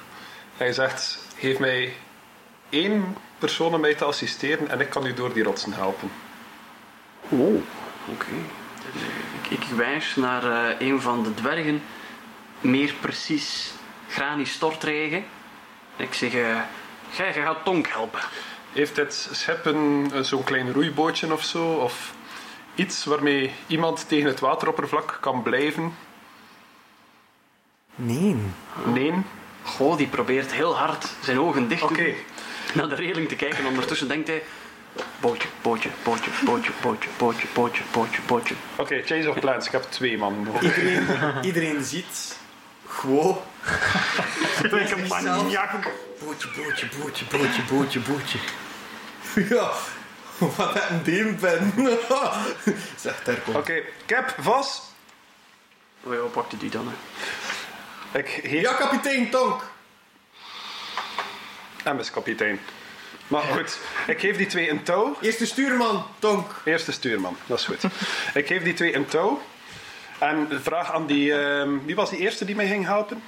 S5: Hij zegt, geef mij één persoon om mij te assisteren en ik kan u door die rotsen helpen.
S3: Oh, oké. Ik, ik wijs naar eh, een van de dwergen, meer precies Grani Stortregen. En ik zeg, eh jij jij gaat Tonk helpen.
S5: Heeft dit schip een- een- zo'n klein roeibootje of zo? Of iets waarmee iemand tegen het wateroppervlak kan blijven?
S2: Nee.
S5: Nee?
S3: Goh, die probeert heel hard zijn ogen dicht
S5: Oké.
S3: te doen, naar de reling te kijken. Ondertussen denkt hij, bootje, bootje, bootje, bootje, bootje, bootje, bootje, bootje, bootje.
S5: Oké, change of plans. Ik heb twee man.
S2: Iedereen, iedereen ziet gewoon. Een maniak. Bootje, bootje, bootje, bootje, bootje, bootje. Ja, wat een deempen. Zegt daar
S5: Oké,
S2: komt.
S5: ik heb vast.
S3: Oh ja, pakte die dan, hè.
S5: Ik heet
S2: Ja, kapitein Tonk.
S5: MS kapitein. Maar goed, ik geef die twee een touw.
S2: Eerste stuurman Tonk.
S5: Eerste stuurman, dat is goed. ik geef die twee een touw. En vraag aan die... ehm, wie was die eerste die mij ging helpen?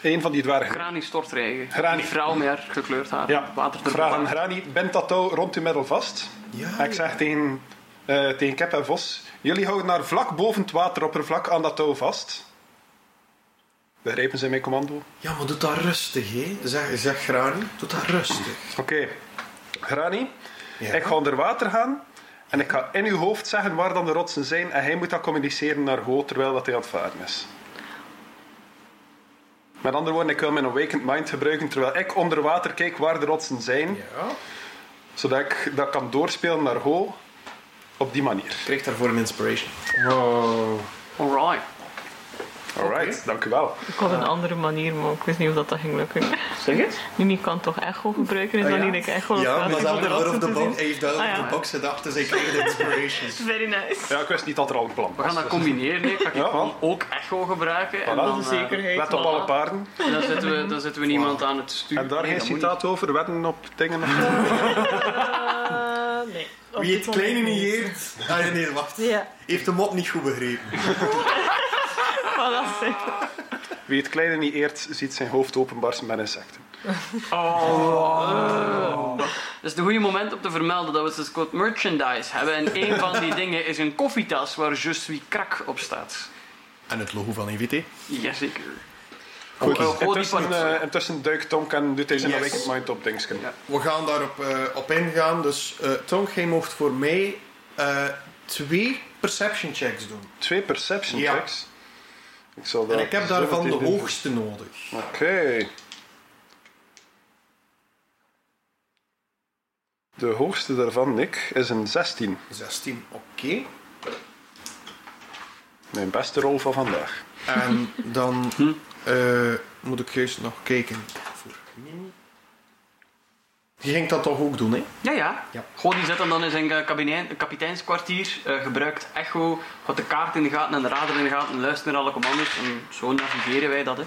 S5: Een van die dwergen.
S3: Grani Stortregen.
S5: Grani.
S3: Die vrouw met haar gekleurd haar.
S5: Ja,
S3: Water
S5: vraag aan Grani. Bent dat touw rond uw middel vast?
S2: Ja.
S5: En ik zeg tegen, eh tegen Kep en Vos... Jullie houden naar vlak boven het wateroppervlak aan dat touw vast. Begrijpen ze mijn commando?
S2: Ja, maar doe dat rustig, hè. Zeg, zeg Grani, doe dat rustig.
S5: Oké. Grani,
S2: Ja.
S5: ik ga onder water gaan... En ik ga in uw hoofd zeggen waar dan de rotsen zijn. En hij moet dat communiceren naar Go, terwijl dat hij aan het varen is. Met andere woorden, ik wil mijn awakened mind gebruiken terwijl ik onder water kijk waar de rotsen zijn.
S2: Ja.
S5: zodat ik dat kan doorspelen naar Ho op die manier.
S2: Krijg daarvoor een inspiration.
S6: Wow.
S3: Alright.
S5: Alright, dank u wel.
S4: Ik had een andere manier, maar ik wist niet of dat, dat ging lukken.
S3: Zeg het.
S4: Mimi kan toch echo gebruiken? Is dat niet dat ik echo
S2: Oh Ja, maar dat
S4: dat ik
S2: had
S4: wil
S2: out of the
S4: erachter
S2: box.
S4: zien?
S2: Hij heeft out
S4: Ah,
S2: of
S4: ja.
S2: the box gedacht, dus hij kreeg de inspirations.
S4: Very nice.
S5: Ja, ik wist niet dat er al een plan
S3: We
S5: was.
S3: gaan dat combineren. hè. Ik ga
S5: Ja,
S3: gewoon ook echo gebruiken. En
S5: Voilà.
S3: dan,
S4: Dat is een
S3: eh,
S4: zekerheid.
S5: Let op
S4: voilà.
S5: alle paarden.
S3: en dan zetten we, dan zetten we iemand aan het stuur.
S5: En daar
S3: Nee,
S5: geen
S3: dat moet
S5: citaat over, wetten op dingen.
S4: Eh,
S7: nee.
S2: Wie het kleine niet heert... Ah nee, wacht.
S7: Ja.
S2: Heeft de mop niet goed begrepen.
S4: Fantastisch.
S5: Wie het kleine niet eert, ziet zijn hoofd openbarsten met insecten.
S3: Dat is het goede moment om te vermelden dat we dus quote merchandise hebben. En een van die dingen is een koffietas waar Je suis krak op staat.
S2: En het logo van IVT.
S3: Jazeker.
S5: Goed,
S3: Oh, oh, die
S5: intussen,
S3: part-
S5: eh, intussen duikt Tonk en doet hij zijn
S2: Yes.
S5: Awakened Mind op Dingsken.
S3: Ja.
S2: We gaan daarop eh, op ingaan. Dus eh Tonk, jij mocht voor mij eh, twee perception checks doen.
S5: Twee perception
S2: Ja.
S5: checks. Ik zal
S2: En
S5: daar
S2: ik heb daarvan de
S5: zelf even-
S2: hoogste nodig.
S5: Oké. De hoogste daarvan, Nick, is een 16.
S2: 16, oké.
S5: Mijn beste rol van vandaag.
S2: En dan eh, moet ik juist nog kijken. Voor Mimi. Je ging dat toch ook doen, hè?
S3: Ja, ja.
S2: Ja.
S3: Goh, die zet hem dan in zijn eh, kabinijn, kapiteinskwartier, eh, gebruikt echo, houdt de kaart in de gaten en de radar in de gaten, luistert naar alle commando's en zo navigeren wij dat. Hè.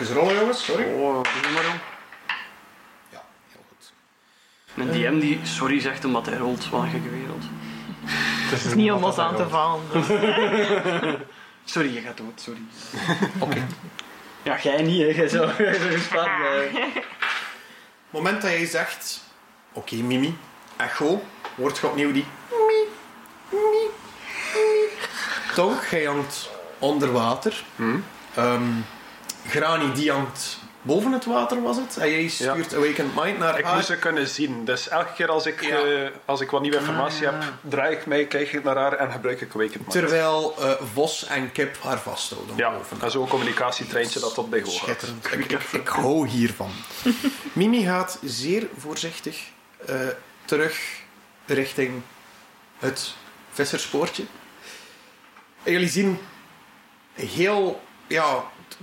S2: Even rollen, jongens, sorry.
S3: Oh, doe maar om.
S2: Ja, heel goed.
S3: Een DM die sorry zegt omdat hij rolt, wat een gekke wereld.
S6: Het
S4: Niet om ons aan te vallen. dus.
S3: Sorry, je gaat dood, sorry. Oké. Ja, jij niet, hè. Jij zou jij zou gespaard blijven.
S2: Het moment dat jij zegt: Oké, Mimi, echo, wordt je opnieuw die. Mie, mie, mie. Tonk, jij hangt onder water.
S5: Hmm.
S2: Ehm, Grani, die hangt boven het water, was het? En jij stuurt Awakened Mind naar
S5: Ik
S2: haar.
S5: moest ze kunnen zien. Dus elke keer als ik,
S2: Ja. Ah.
S5: eh, als ik wat nieuwe informatie heb, draai ik mij, kijk ik naar haar en gebruik ik Awakened Mind.
S2: Terwijl eh, Vos en Kip haar vasthouden.
S5: Ja,
S2: boven.
S5: en zo'n communicatietreintje dat op de hoog gaat.
S2: Schitterend. Ik, ik, ik hou hiervan. Mimi gaat zeer voorzichtig eh, terug richting het visserspoortje. En jullie zien heel... Ja, t-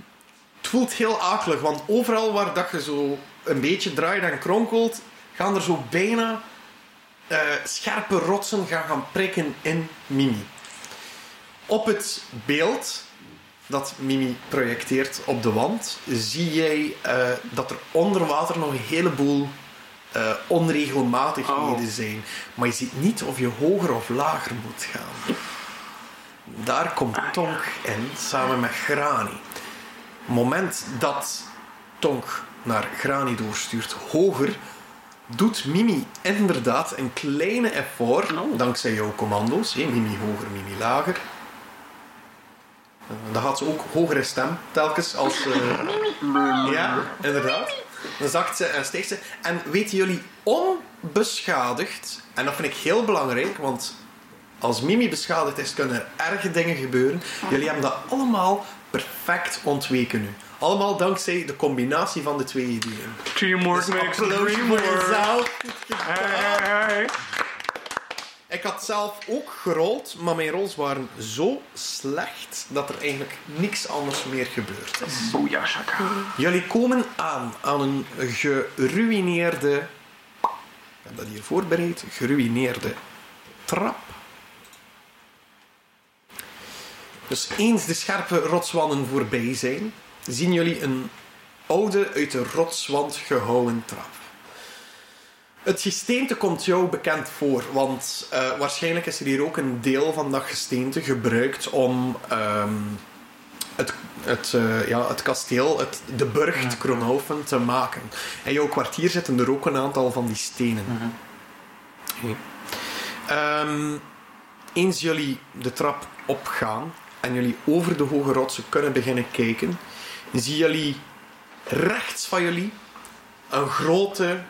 S2: het voelt heel akelig, want overal waar dat je zo een beetje draait en kronkelt, gaan er zo bijna eh, scherpe rotsen gaan, gaan prikken in Mimi. Op het beeld dat Mimi projecteert op de wand, zie jij eh, dat er onder water nog een heleboel eh, onregelmatigheden
S3: Oh.
S2: zijn. Maar je ziet niet of je hoger of lager moet gaan. Daar komt Tonk in, samen met Grani. Het moment dat Tonk naar Grani doorstuurt, hoger, doet Mimi inderdaad een kleine effort,
S3: Oh.
S2: dankzij jouw commando's. hè, Mimi hoger, Mimi lager. Eh, Dan gaat ze ook hogere stem, telkens als... eh, ja, inderdaad. Dan zakt ze en steekt ze. En weten jullie, onbeschadigd, en dat vind ik heel belangrijk, want als Mimi beschadigd is, kunnen er erge dingen gebeuren. Jullie hebben dat allemaal perfect ontweken nu. Allemaal dankzij de combinatie van de twee ideeën.
S5: Teamwork
S2: Dus applaus voor jezelf. Ik had zelf ook gerold, maar mijn rolls waren zo slecht dat er eigenlijk niks anders meer gebeurd is.
S3: Boeja, shaka.
S2: Jullie komen aan aan een geruineerde. Ik heb dat hier voorbereid. Geruineerde trap. Dus eens de scherpe rotswanden voorbij zijn, zien jullie een oude, uit de rotswand gehouwen trap. Het gesteente komt jou bekend voor, want eh, waarschijnlijk is er hier ook een deel van dat gesteente gebruikt om ehm, het, het, eh, ja, het kasteel, het, de burcht Kronhoven te maken. In jouw kwartier zitten er ook een aantal van die stenen. Oké. Ehm, eens jullie de trap opgaan en jullie over de hoge rotsen kunnen beginnen kijken, zien jullie rechts van jullie een grote,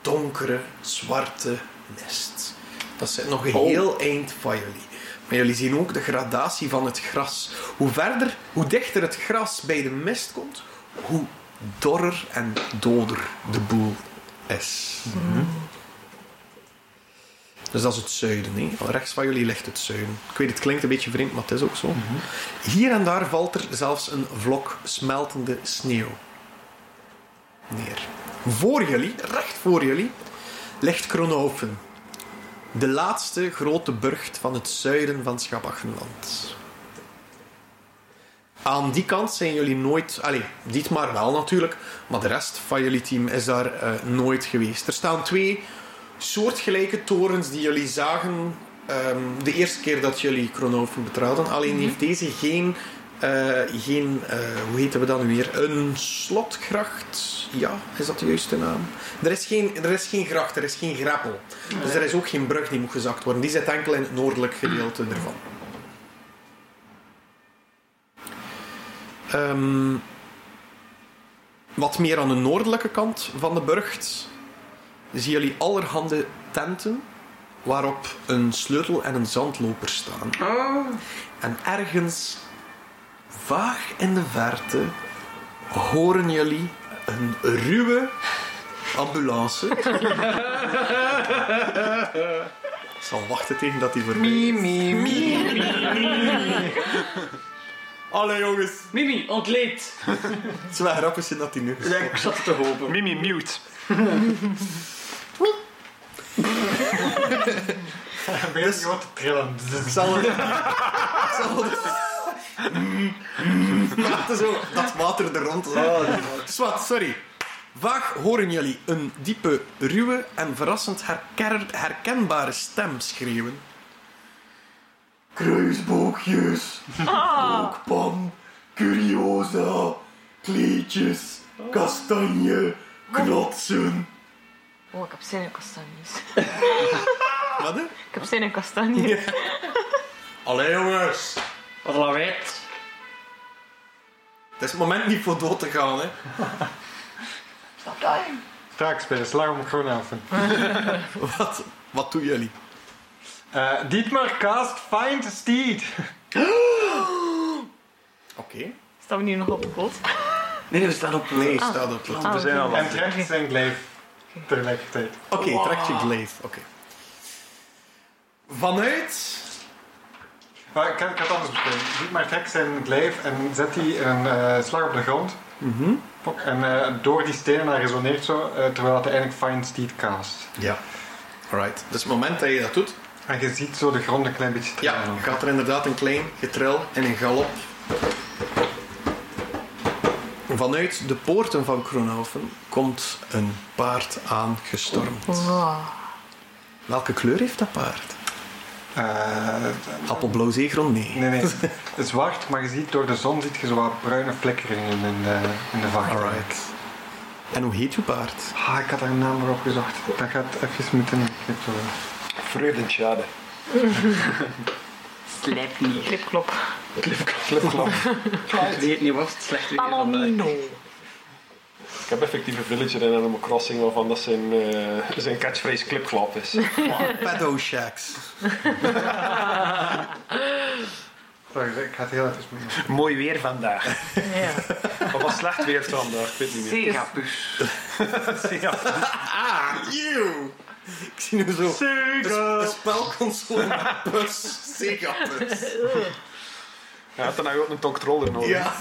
S2: donkere, zwarte mist. Dat zit nog een heel eind van jullie. Maar jullie zien ook de gradatie van het gras. Hoe verder, hoe dichter het gras bij de mist komt, hoe dorrer en doder de boel is. Mhm. Dus dat is het zuiden. Hè? Rechts van jullie ligt het zuiden. Ik weet, het klinkt een beetje vreemd, maar het is ook zo. Hier en daar valt er zelfs een vlok smeltende sneeuw neer. Voor jullie, recht voor jullie, ligt Kronhoven. De laatste grote burcht van het zuiden van Schabachenland. Aan die kant zijn jullie nooit... Allee, Dietmar wel natuurlijk, maar de rest van jullie team is daar eh, nooit geweest. Er staan twee soortgelijke torens die jullie zagen ehm, de eerste keer dat jullie Kronoven betraden. Alleen heeft deze geen, eh, geen eh, hoe heten we dat nu weer? Een slotgracht. Ja, is dat de juiste naam? Er is geen, er is geen gracht, er is geen grappel. Dus er is ook geen brug die moet gezakt worden. Die zit enkel in het noordelijk gedeelte ervan. Ehm, wat meer aan de noordelijke kant van de burcht zien Dus jullie allerhande tenten waarop een sleutel en een zandloper staan.
S3: Oh,
S2: En ergens, vaag in de verte, horen jullie een ruwe ambulance. Ik zal wachten tegen dat die voorbij is. Allee jongens,
S3: Mimi, ontleed.
S2: het is wel grappig zijn dat die nu is.
S3: Ik zat het te hopen.
S5: Mimi, mute.
S6: Dan begint je wat te trillen.
S2: Ik zal het... Ik zal het... Laten zo dat water er rond. Swat, sorry. Vaag horen jullie een diepe, ruwe en verrassend herker- herkenbare stem schreeuwen. Kruisboogjes, kookpan, curiosa, kleedjes, kastanje, knotsen.
S4: Oh, ik heb zin in kastanjes.
S2: Wat hè?
S4: Ik heb zin in kastanjes.
S2: Allee jongens.
S3: Wat lawaait.
S2: Het is het moment niet voor dood te gaan hè.
S6: Straks bij de slag om Groenhaven.
S2: Wat, wat doen jullie?
S6: Eh Dietmar cast Find Steed.
S2: Oké.
S4: Staan we nu nog op de kot?
S3: Nee, we staan op...
S2: Nee, staat op het
S4: Ah,
S5: We zijn al
S6: En trekt zijn gleef tegelijkertijd.
S2: Oké, trek je glaive. Oké. Vanuit.
S6: Maar ik, kan- ik had het anders bespreken. Dietmar trekt zijn gleef en zet die in een eh, slag op de grond. Pok, En eh, door die stenen naar resoneert zo, eh, terwijl het eigenlijk Find Steed cast.
S2: Ja. Alright. Dus het moment dat je dat doet,
S6: En je ziet zo de grond een klein beetje trillen.
S2: ja, gaat er inderdaad een klein getril en een galop. Vanuit de poorten van Kronhoven komt een paard aangestormd.
S4: Wow.
S2: Welke kleur heeft dat paard?
S6: Eh,
S2: Appelblauw zeegrond? Nee.
S6: Nee, nee. Het is zwart, maar je ziet door de zon ziet je zo wat bruine flikkeringen in de, in de vacht.
S2: Alright. En hoe heet uw paard?
S6: Ah, ik had haar naam erop gezocht. Dat gaat even moeten ingeknipt worden.
S5: vreugdenschade.
S3: Slijp niet.
S4: Klipklop.
S5: Flipklap.
S3: Ik weet niet wat het slecht weer vandaag.
S4: Palomino.
S5: Ik heb effectief een villager in Animal Crossing waarvan dat zijn, eh, zijn catchphrase clipklap is.
S2: Pedo Shacks.
S6: Sorry, ik ga het heel even moeten.
S5: Mooi weer vandaag.
S4: Ja.
S5: Of was slecht weer vandaag, ik weet niet meer.
S3: Segapus.
S2: Ah, eeuw. Ik zie nu zo een, sp- een spelconsole met pus. Sega pus.
S5: Ja, dan heb je ook een controller nodig.
S2: Ja.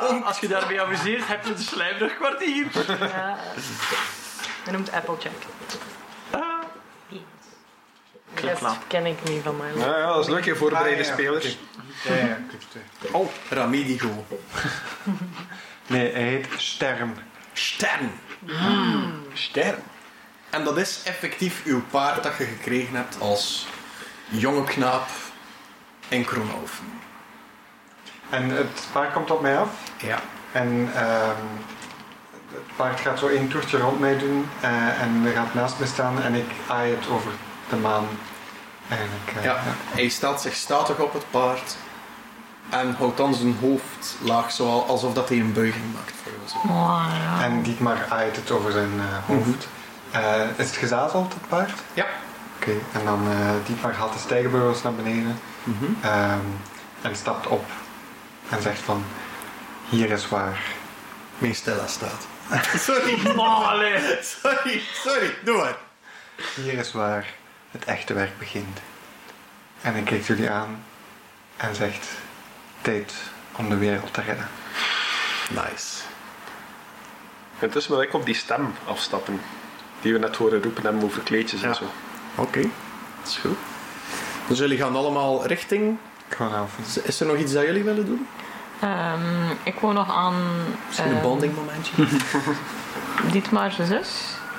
S3: Ah, als je daarbij amuseert, heb je de slijmdrug kwartier.
S4: Hij noemt Applejack. Beans. De rest
S3: Klipklap.
S4: ken ik niet van mij.
S5: Ja, ja, dat is leuk hè, voorbereide
S6: Ah, ja,
S5: spelers.
S6: Ja, ja, klopt. ja.
S2: Oh, Ramidigo.
S6: Nee, hij heet Stern.
S2: Stern. Hmm. Stern. En dat is effectief uw paard dat je gekregen hebt als jonge knaap in Kronhoven.
S6: En het paard komt op mij af.
S2: Ja.
S6: En ehm, het paard gaat zo één toertje rond mij doen. eh, en gaat naast me staan. En ik aai het over de maan. En ik, eh,
S2: ja. Hij stelt zich statig op het paard en houdt dan zijn hoofd laag, zoal alsof dat hij een buiging maakt voor jou.
S6: En Dietmar aait het over zijn eh, hoofd. Eh, is het gezadeld, het paard?
S2: Mhm. Ja.
S6: Oké, en dan eh Dietmar haalt de stijgerbeugels naar beneden
S2: Mhm.
S6: ehm, en stapt op en zegt van, hier is waar.
S2: Mijn Stella staat. Sorry.
S3: Malen.
S2: Sorry, sorry, doe maar.
S6: Hier is waar het echte werk begint. En ik kijk jullie aan en zegt, tijd om de wereld te redden.
S2: Nice.
S5: Intussen wil ik op die stem afstappen. Die we net horen roepen hebben over kleedjes en zo.
S2: Oké, dat is goed. Dus jullie gaan allemaal richting.
S6: Gewoon af.
S2: Is- Is er nog iets dat jullie willen doen?
S4: Ehm, ik woon nog aan
S2: Misschien een
S4: ehm,
S2: bonding momentje?
S4: Dietmar zijn zus.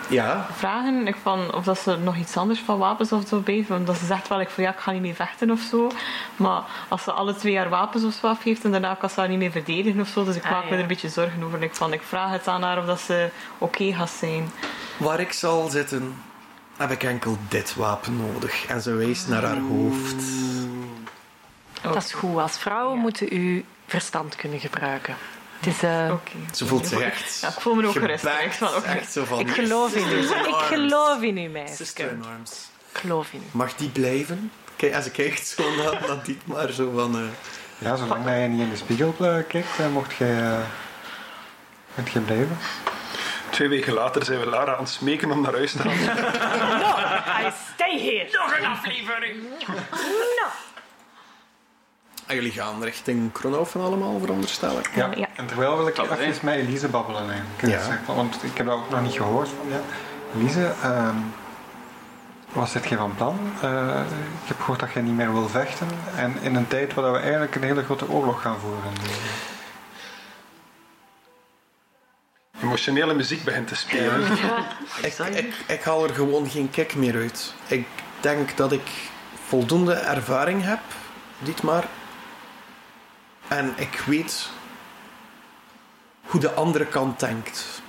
S2: Ja.
S4: vragen ik van, of dat ze nog iets anders van wapens of zo bij heeft. Omdat ze zegt wel, ik, van, ja, ik ga niet mee vechten of zo. Maar als ze alle twee jaar wapens of zo af heeft en daarna kan ze haar niet meer verdedigen of zo. Dus ik
S7: Ah,
S4: maak me
S7: ja.
S4: er een beetje zorgen over. Ik, van, ik vraag het aan haar of dat ze oké gaat zijn.
S2: Waar ik zal zitten, heb ik enkel dit wapen nodig. En ze wijst naar haar hoofd.
S7: Dat is goed. Als vrouwen
S4: Ja.
S7: moeten u verstand kunnen gebruiken. Het is, eh,
S4: Oké.
S2: Ze voelt zich echt...
S4: Ja, ik voel me ook
S2: gebacked,
S4: gerust. Echt van, oké.
S2: echt zo van...
S7: ik geloof in u.
S2: Sister in
S7: Ik
S2: arms.
S7: geloof in u, meisje.
S2: Sister in arms.
S7: Ik geloof in u.
S2: Mag die blijven? Kijk, en ze kijkt zo naar, naar Dietmar, zo van... eh,
S6: Ja, zolang dat je niet in de spiegel eh, kijkt, eh, mocht jij... eh, Moet je blijven?
S5: Twee weken later zijn we Lara aan het smeken om naar huis te gaan.
S7: I stay here.
S3: Nog een aflevering!
S2: En Ah, jullie gaan richting Kronoven allemaal, veronderstel ik.
S6: Ja.
S4: ja.
S6: En terwijl wil ik
S3: Dat
S6: even
S3: weet.
S6: met Elise babbelen eigenlijk.
S2: Ja.
S6: Zeg maar, Want ik heb dat ook nog niet gehoord van ja. Elise, ehm was dit geen van plan? Eh, ik heb gehoord dat jij niet meer wil vechten. En in een tijd waar we eigenlijk een hele grote oorlog gaan voeren.
S5: Emotionele muziek begint te spelen.
S2: Ik, ik, ik haal er gewoon geen kick meer uit. Ik denk dat ik voldoende ervaring heb, Dietmar. En ik weet hoe de andere kant denkt.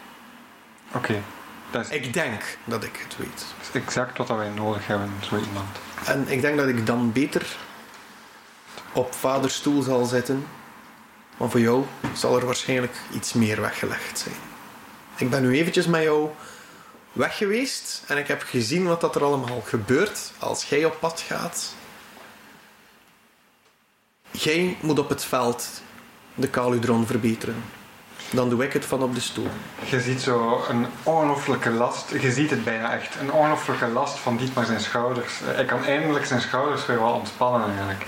S6: Oké, dat is
S2: Ik denk dat ik het weet.
S6: exact wat dat wij nodig hebben, zo iemand.
S2: En ik denk dat ik dan beter op vaders stoel zal zitten. Maar voor jou zal er waarschijnlijk iets meer weggelegd zijn. Ik ben nu eventjes met jou weg geweest en ik heb gezien wat dat er allemaal gebeurt als jij op pad gaat. Jij moet op het veld de Caludron verbeteren. Dan doe ik het van op de stoel.
S6: Je ziet zo een ongelooflijke last, je ziet het bijna echt, een ongelooflijke last van Dietmar zijn schouders. Eh, Hij kan eindelijk zijn schouders weer wel ontspannen eigenlijk.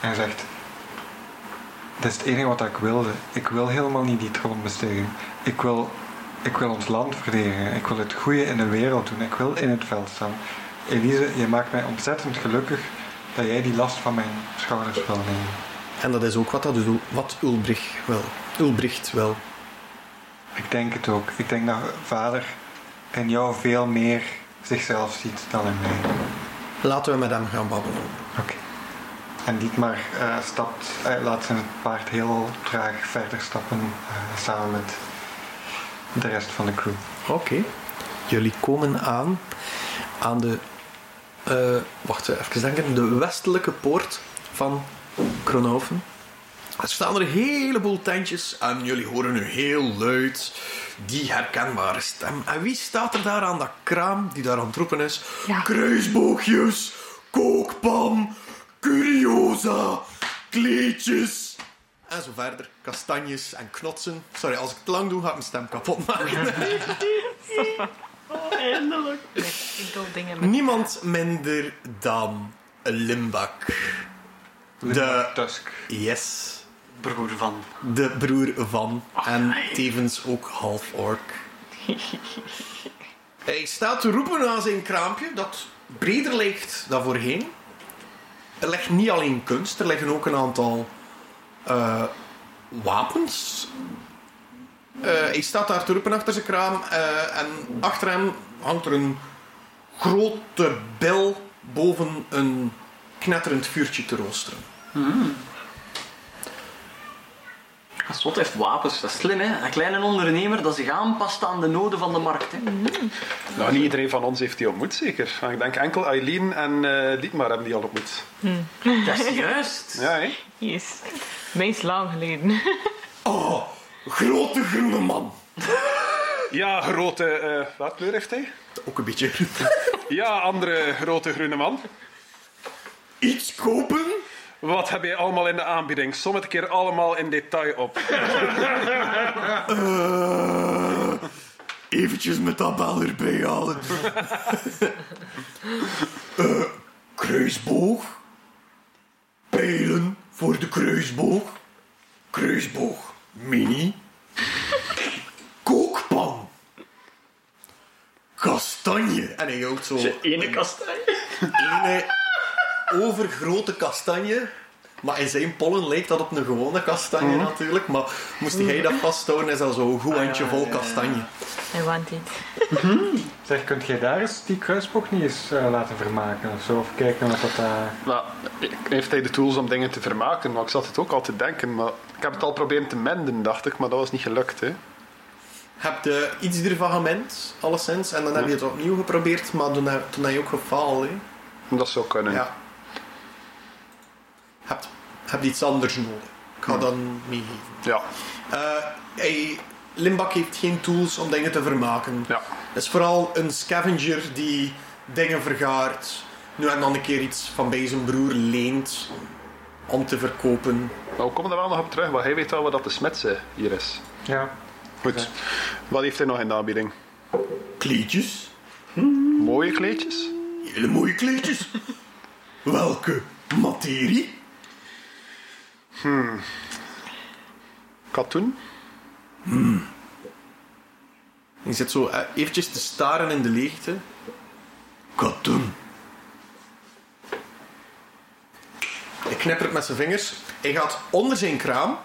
S6: En hij zegt, dit is het enige wat ik wilde. Ik wil helemaal niet die troon bestegen. Ik wil, ik wil ons land verdedigen. Ik wil het goede in de wereld doen. Ik wil in het veld staan. Elise, je maakt mij ontzettend gelukkig dat jij die last van mijn schouders wil nemen.
S2: En dat is ook wat, dat, wat Ulbricht wil. Ulbricht wil.
S6: Ik denk het ook. Ik denk dat vader in jou veel meer zichzelf ziet dan in mij.
S2: Laten we met hem gaan babbelen.
S6: Oké. En Dietmar eh, stapt, eh, laat zijn paard heel traag verder stappen eh, samen met de rest van de crew.
S2: Oké. Jullie komen aan aan de. eh, wacht even denken. De westelijke poort van Kronoven. Er staan er een heleboel tentjes en jullie horen nu heel luid die herkenbare stem. En wie staat er daar aan dat kraam die daar aan het roepen is?
S4: Ja.
S2: Kruisboogjes, kookpan, curiosa, kleedjes. En zo verder. Kastanjes en knotsen. Sorry, als ik het lang doe, ga ik mijn stem kapot maken.
S3: Eindelijk.
S4: Ik doe dingen met...
S2: Niemand minder dan Limbak. De,
S6: Tusk.
S2: yes,
S3: Broer van.
S2: de broer van en tevens ook half-ork. Hij staat te roepen aan zijn kraampje dat breder ligt dan voorheen. Er ligt niet alleen kunst, er liggen ook een aantal eh, wapens. Eh, hij staat daar te roepen achter zijn kraam eh, en achter hem hangt er een grote bel boven een knetterend vuurtje te roosteren.
S3: Dat slot heeft wapens, dat is slim hè. Een kleine ondernemer dat zich aanpast aan de noden van de markt hè.
S5: Nou, niet iedereen van ons heeft die ontmoet, zeker. Ik denk enkel Eileen en eh Dietmar hebben die al ontmoet.
S3: Dat is juist.
S5: Ja, hè?
S4: Yes. Meest lang geleden.
S2: Oh, grote groene man.
S5: Ja, grote... eh wat kleur heeft hij?
S2: Ook een beetje.
S5: Ja, andere grote groene man.
S2: Iets kopen?
S5: Wat heb jij allemaal in de aanbieding? Som het een keer allemaal in detail op.
S2: Eh, eventjes met dat bel erbij halen. Eh, kruisboog. Pijlen voor de kruisboog. Kruisboog mini. Kookpan. Kastanje. En hij houdt zo
S3: Ene kastanje.
S2: ene overgrote kastanje Maar in zijn pollen leek dat op een gewone kastanje natuurlijk. Maar moest hij dat vasthouden, is dat zo'n goed handje vol kastanje.
S4: I want it.
S6: Zeg, kunt jij daar eens die kruisboog niet eens eh, laten vermaken of zo? Of kijken wat dat eh, daar...
S5: Nou, ik- heeft hij de tools om dingen te vermaken? Want ik zat het ook al te denken, maar ik heb het al proberen te menden, dacht ik, maar dat was niet gelukt. Hè.
S2: Heb je iets ervan gemend, alleszins. En dan heb je het opnieuw geprobeerd, maar toen heb, toen heb je ook gefaald. Hè.
S5: Dat zou kunnen.
S2: Ja. Heb, heb je iets anders nodig. Ik ga dan meegeven.
S5: Ja,
S2: Eh, hij- Limbak heeft geen tools om dingen te vermaken.
S5: ja.
S2: Het is vooral een scavenger die dingen vergaart. Nu en dan een keer iets van bij zijn broer leent om te verkopen.
S5: Nou, we komen er wel nog op terug, want hij weet wel wat dat de smetsen hier is.
S6: Ja.
S5: Goed. Wat heeft hij nog in de aanbieding?
S2: Kleedjes?
S5: Mooie kleedjes?
S2: Hele mooie kleedjes. Welke materie?
S5: Katoen?
S2: Je zit zo eh, eventjes te staren in de leegte. Katoen. Hij knippert met zijn vingers. Hij gaat onder zijn kraam.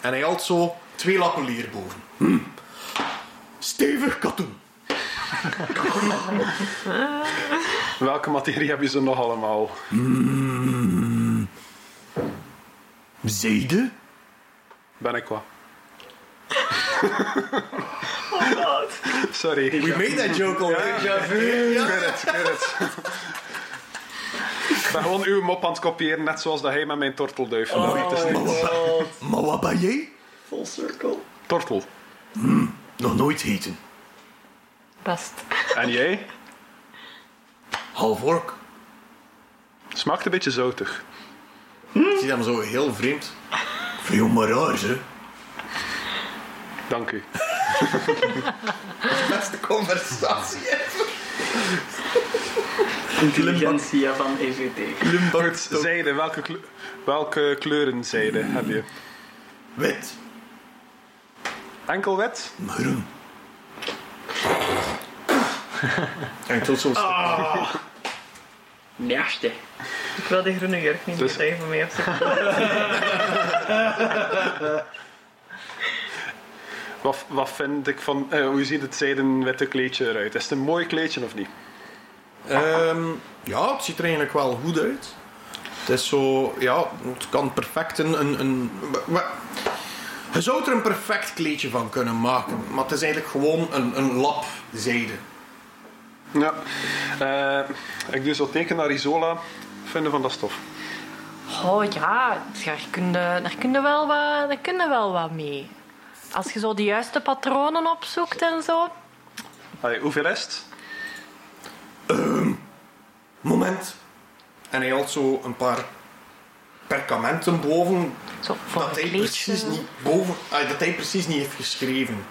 S2: En hij haalt zo twee lappen leer boven. Hm. Stevig katoen.
S5: Welke materie heb je ze nog allemaal?
S2: Zijde?
S5: Ben ik wat? Sorry.
S2: We made that joke al.
S5: Ik weet het, ik weet het. Ik ben gewoon uw mop aan het kopiëren, net zoals dat hij met mijn tortelduif gedaan heeft. Het is niet-
S2: Maar wat ben jij?
S5: Tortel.
S2: Nog nooit heten.
S4: Best.
S5: En jij?
S2: Half ork.
S5: Smaakt een beetje zoutig.
S2: Ik zie hem zo heel vreemd. Veel maar raar, hè?
S5: Dank u.
S2: Beste conversatie.
S3: Intelligentia van E EVT.
S2: Limbak.
S5: Zijde, welke, kle- welke kleuren zijde heb je?
S2: Wit.
S5: Enkel wit?
S2: Groen. En tot zo'n stuk.
S3: Njaste.
S4: Ik wil die groene jurk niet
S5: Dus-
S4: dus... meer van mij opzetten.
S5: Wat, wat vind ik van... eh, hoe ziet het zijden witte kleedje eruit? Is het een mooi kleedje of niet?
S2: Ehm, ja, het ziet er eigenlijk wel goed uit. Het is zo, ja, het kan perfect een. een, een we- we- je zou er een perfect kleedje van kunnen maken, maar het is eigenlijk gewoon een, een lap zijde.
S5: Ja. Eh, ik doe zo teken naar Isola. Vinden van dat stof.
S7: Oh ja, daar kun je, daar kun je, wel, wat, daar kun je wel wat mee. Als je zo de juiste patronen opzoekt en zo.
S5: Allee, hoeveel is het?
S2: Moment. En hij had zo een paar perkamenten boven
S7: Zo voor eh.
S2: dat
S7: een
S2: hij
S7: kleedje.
S2: precies niet boven, ah, dat hij precies niet heeft geschreven.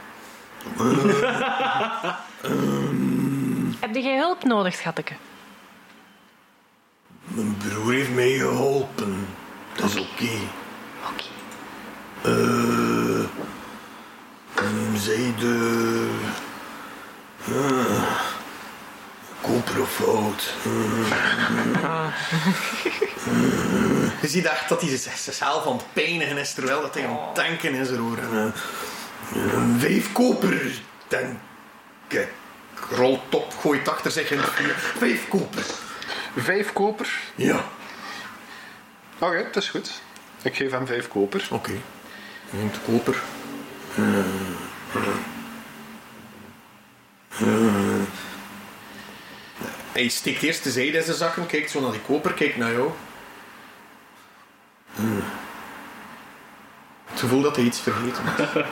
S7: Heb jij hulp nodig, schatteke?
S2: Mijn broer heeft mij geholpen. Dat is oké.
S7: Oké.
S2: Eh. mm, zij de. Ah, koper of fout. Je ziet echt dat hij zich- zichzelf aan het pijnigen is terwijl dat hij aan het tanken is erover. En, eh, een vijf koper, denk ik. Rolt op, gooit achter zich in het vuur. Vijf koper.
S5: Vijf koper.
S2: Ja.
S5: Oké, dat is goed. Ik geef hem vijf koper.
S2: Oké. Neem de koper. Hij steekt eerst de zijde in zijn zakken, kijkt zo naar die koper, kijkt naar jou. Hmm. Het gevoel dat hij iets vergeten heeft.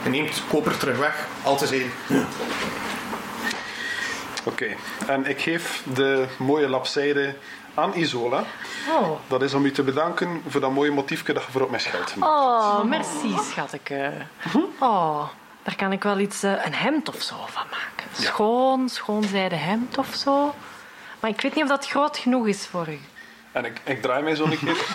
S2: Hij neemt de koper terug weg, altijd zijde.
S5: Oké. En ik geef de mooie lapzijde aan Isola.
S7: Oh.
S5: Dat is om u te bedanken voor dat mooie motiefje dat je voor op mijn geld hebt.
S7: oh, merci, schatteke. Oh, daar kan ik wel iets, eh, een hemd of zo van maken. Schoon, schoonzijde hemd of zo. Maar ik weet niet of dat groot genoeg is voor u.
S5: En ik, ik draai mij zo een keer.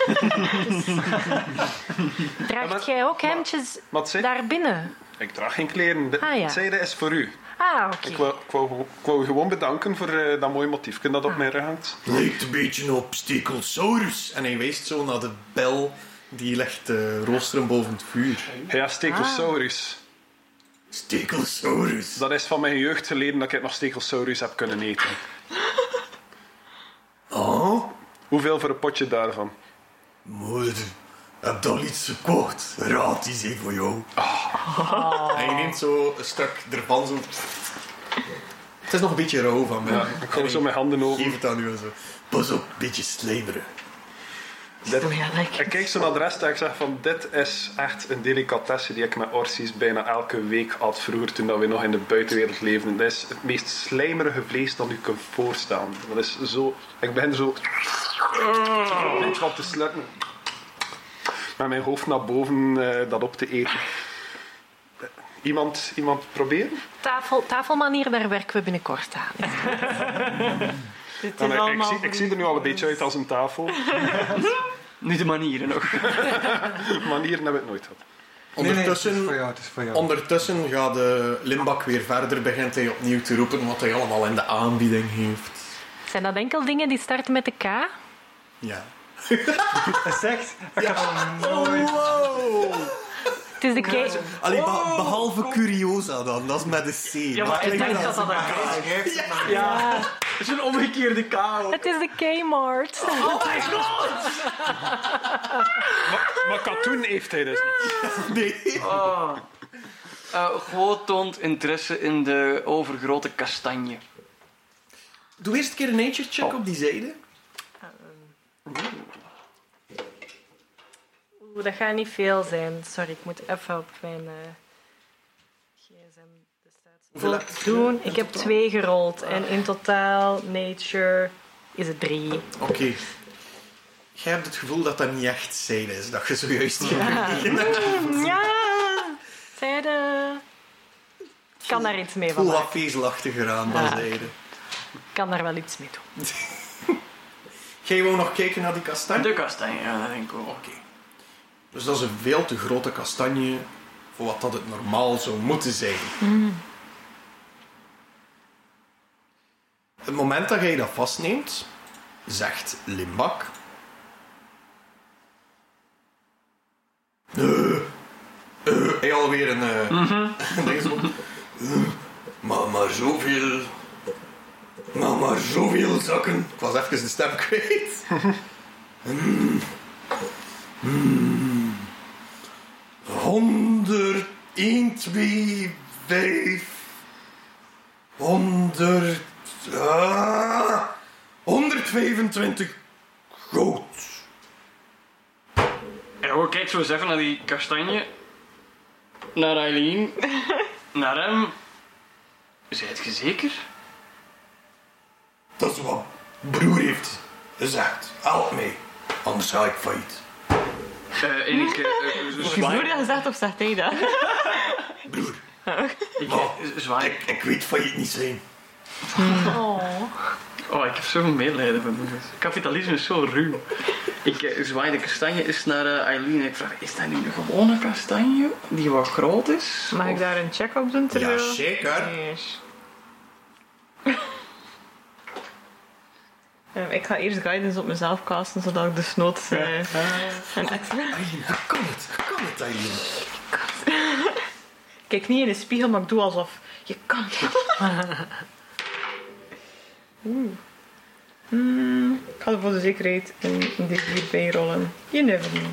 S7: Draagt
S5: maar-
S7: jij ook hemdjes
S5: Wat zei
S7: daarbinnen?
S5: Ik draag geen kleren. De,
S7: Ah, ja.
S5: Het zijde is voor u.
S7: Ah, oké.
S5: Ik wou, ik wou- ik wou u gewoon bedanken voor eh, dat mooie motiefje dat op
S7: Ah.
S5: mij hangt.
S2: Lijkt een beetje op Stekelsaurus. En hij wijst zo naar de bel die legt eh roosteren boven het vuur.
S5: Ja, stekelsaurus.
S7: Ah.
S2: Stekelsaurus.
S5: Dat is van mijn jeugd geleden dat ik nog stekelsaurus heb kunnen eten.
S2: Oh,
S5: Hoeveel voor een potje daarvan?
S2: moeder. Heb je al iets gekocht? Raad is even voor jou.
S5: Ah.
S2: En je neemt zo een stuk ervan zo... Het is nog een beetje rauw van mij.
S5: Ja, ik hou zo mijn handen
S2: Geef
S5: open.
S2: het aan u en zo. Pas op, een beetje slijmeren.
S5: Dit-
S4: Doe je lekker.
S5: ik kijk zo naar de rest en ik zeg van dit is echt een delicatesse die ik met Orsies bijna elke week had vroeger toen dat we nog in de buitenwereld leefden. Dat is het meest slijmerige vlees dat u kunt voorstellen. Dat is zo... Ik ben zo... Net wat te sluiten. Met mijn hoofd naar boven eh, dat op te eten. Iemand, iemand proberen?
S7: Tafel, tafelmanier, daar werken we binnenkort aan.
S4: Dit
S5: Dan, eh,
S4: is
S5: ik,
S4: allemaal
S5: zie, ik zie er nu al een beetje uit als een tafel.
S3: Nu de manieren nog.
S5: Manieren heb ik nooit gehad.
S2: Ondertussen...
S6: Nee, nee, het is voor jou, het is voor jou.
S2: Ondertussen gaat de Limbak weer verder, begint hij opnieuw te roepen wat hij allemaal in de aanbieding heeft.
S7: Zijn dat enkel dingen die starten met de K?
S2: Ja.
S6: Is het echt? Ik heb al nooit...
S2: Oh, Wow!
S7: Het is de K.
S2: Allee, be- behalve Curiosa dan, dat is met een C.
S3: Ja, maar ik
S2: klinkt
S3: denk dat
S2: als-
S3: dat een K is. Het is een omgekeerde K.
S7: Het is de Kmart.
S5: Maar, maar katoen heeft hij dus niet.
S2: Nee.
S3: Oh. Eh, Goh toont interesse in de overgrote kastanje.
S2: Doe eerst een keer een nature check op die zijde.
S7: Oeh, dat gaat niet veel zijn. Sorry, ik moet even op mijn eh, gsm de
S2: Hoeveel heb Ah.
S7: staat. doen. Ik heb twee gerold en in totaal nature is het drie.
S2: Oké. Jij hebt het gevoel dat dat niet echt zijde is, dat je zojuist gekregen hebt.
S7: Ja, zijde. Ik kan daar iets mee van
S2: Voel
S7: maken.
S2: wat vezelachtiger aan dan
S7: Ja.
S2: zijde.
S7: Ik kan daar wel iets mee doen.
S2: Jij wou nog kijken naar die kastanje?
S3: De kastanje, ja, dat denk ik ook.
S2: Oké. Dus dat is een veel te grote kastanje voor wat dat het normaal zou moeten zijn. Het moment dat jij dat vastneemt, zegt Limbak. Eh, eh, hij alweer een. eh, ding zo. Eh, maar maar zoveel. Maar maar zoveel zakken. Ik was even de stem kwijt. Mm. Mm. 101, 2, 5. 100. ah, 125 goud.
S3: En hoor, kijk zo eens even naar die kastanje. Naar Eileen. naar hem. Zijt je zeker?
S2: Dat is wat broer heeft gezegd. Help mij, anders ga ik failliet.
S3: Eh, en ik, eh, eh,
S4: Je broer dat gezegd of zegt hij dat?
S2: Broer,
S3: ik
S2: maar
S3: eh, zwaai.
S2: ik, ik weet failliet niet zijn.
S3: Oh, ik heb zoveel medelijden met moeders. Kapitalisme is zo ruw. Ik eh, zwaai de kastanje eens naar eh, Eileen en ik vraag, is dat nu een gewone kastanje die wat groot is?
S4: Mag ik
S3: Of-
S4: daar een check op doen
S2: Ja,
S4: terwijl?
S2: zeker.
S4: Yes. Ehm, ik ga eerst guidance op mezelf casten, zodat ik dus noods eh, een extra...
S2: Eileen, hoe kan het? Hoe kan het, Eileen?
S4: Ik Kijk niet in de spiegel, maar ik doe alsof je kan. Oeh. Hmm, ik ga er voor de zekerheid een D4 bij rollen. You never know.